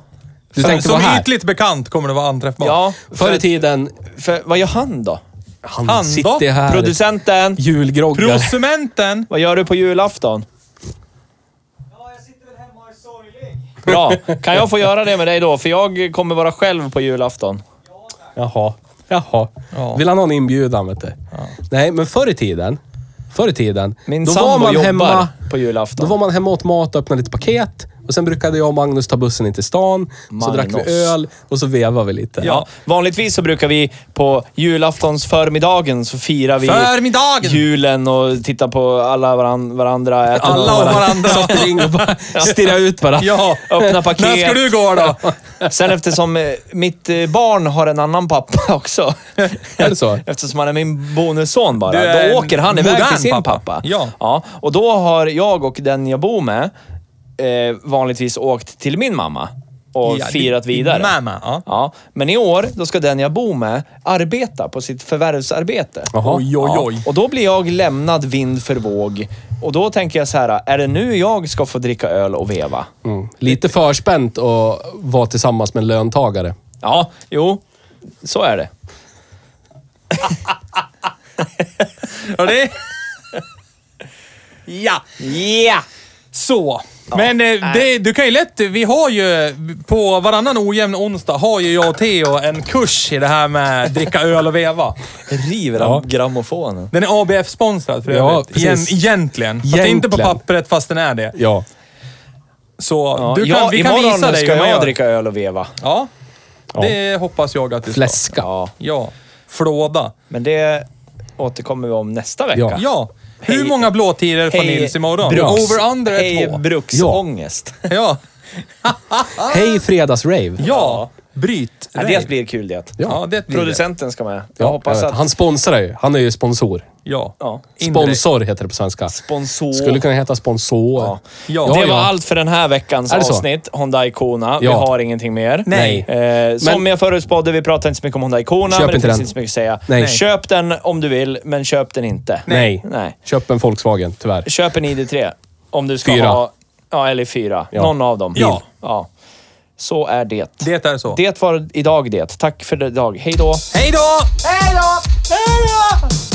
Du tänkte Som vara här. ytligt bekant kommer det vara anträffbar. Ja. Förr i För, tiden... för, vad gör han då? Han, Han sitter var här. Producenten, Julgroggar. Prosumenten. vad gör du på julafton? Ja, jag sitter väl hemma och är sorglig. Bra. Kan jag få göra det med dig då? För jag kommer vara själv på julafton. Jaha. Jaha. Ja. Vill han ha en inbjudan, vet du? Nej, men förr i tiden... Förr i tiden, Min då var sambo man jobbar hemma... på julafton. Då var man hemma åt mat och öppnade lite paket. Och sen brukade jag och Magnus ta bussen in till stan. Så drack Magnus. vi öl och så vevade vi lite. Ja. Vanligtvis så brukar vi på julaftons förmiddagen så firar vi Förmiddagen. julen och tittar på alla varan, varandra. Äter Alla och varandra. varandra. Satt i ring och bara stirrade ut varandra. Ja. Öppna paket. När ska du gå då? Sen eftersom eh, mitt eh, barn har en annan pappa också. Är det så? Eftersom han är min bonusson bara. Du är Då en åker han iväg modern till sin pappa. pappa. Ja. Och då har jag och den jag bor med eh, vanligtvis åkt till min mamma och Ja, firat din- din vidare. mamma, ja. Men i år, då ska den jag bor med arbeta på sitt förvärvsarbete. Jaha. Oj, oj, Ja, oj. Och då blir jag lämnad vind för våg. Och då tänker jag så här, är det nu jag ska få dricka öl och veva? Mm. Lite förspänt att vara tillsammans med en löntagare. Ja, jo. Så är det. Ja, det... ja. Ja! Så. Men eh, det, du kan ju lätt... Vi har ju på varannan ojämn onsdag har ju jag och Theo en kurs i det här med dricka öl och veva. River av grammofonen. Den är ABF-sponsrad för Ja, övrigt. Igen, precis. egentligen. Fast det är inte på Egentligen. pappret fast den är det. Ja. Så du kan, ja, vi kan imorgon visa dig ska hur man jag gör. dricka öl och veva. Ja. Det hoppas jag att du ska. Fläska. Ja. Ja. Flåda. Men det återkommer vi om nästa vecka. Ja. Ja. Hur många blåtiror får Nils imorgon? Bruks. Over under är Hej två. bruksångest. Ja. Ja. Hej fredagsrave. Ja. Bryt. det blir kul det. Ja, det blir det. Producenten ska med. Jag Ja, hoppas jag vet. att... Han sponsrar ju. Han är ju sponsor. Ja. Ja. Indirekt. Sponsor heter det på svenska. Sponsor. Skulle kunna heta sponsor. Ja. Ja. Det Ja, var allt för den här veckans Är det så? avsnitt. Honda Icona. Vi Ja. har ingenting mer. Nej. Eh, som Men- jag förutspådde, vi pratar inte så mycket om Honda Icona, Köp men det inte finns den. inte så mycket att säga. Nej. Köp den om du vill, men köp den inte. Nej. Nej. Köp en Volkswagen, tyvärr. Köp en ID3 om du ska Fyra. ha... Ja, eller fyra. Ja. Någon av dem. Ja. ja. Så är det. Det är så. Det var idag det. Tack för idag. Hej då! Hej då! Hej då! Hej då!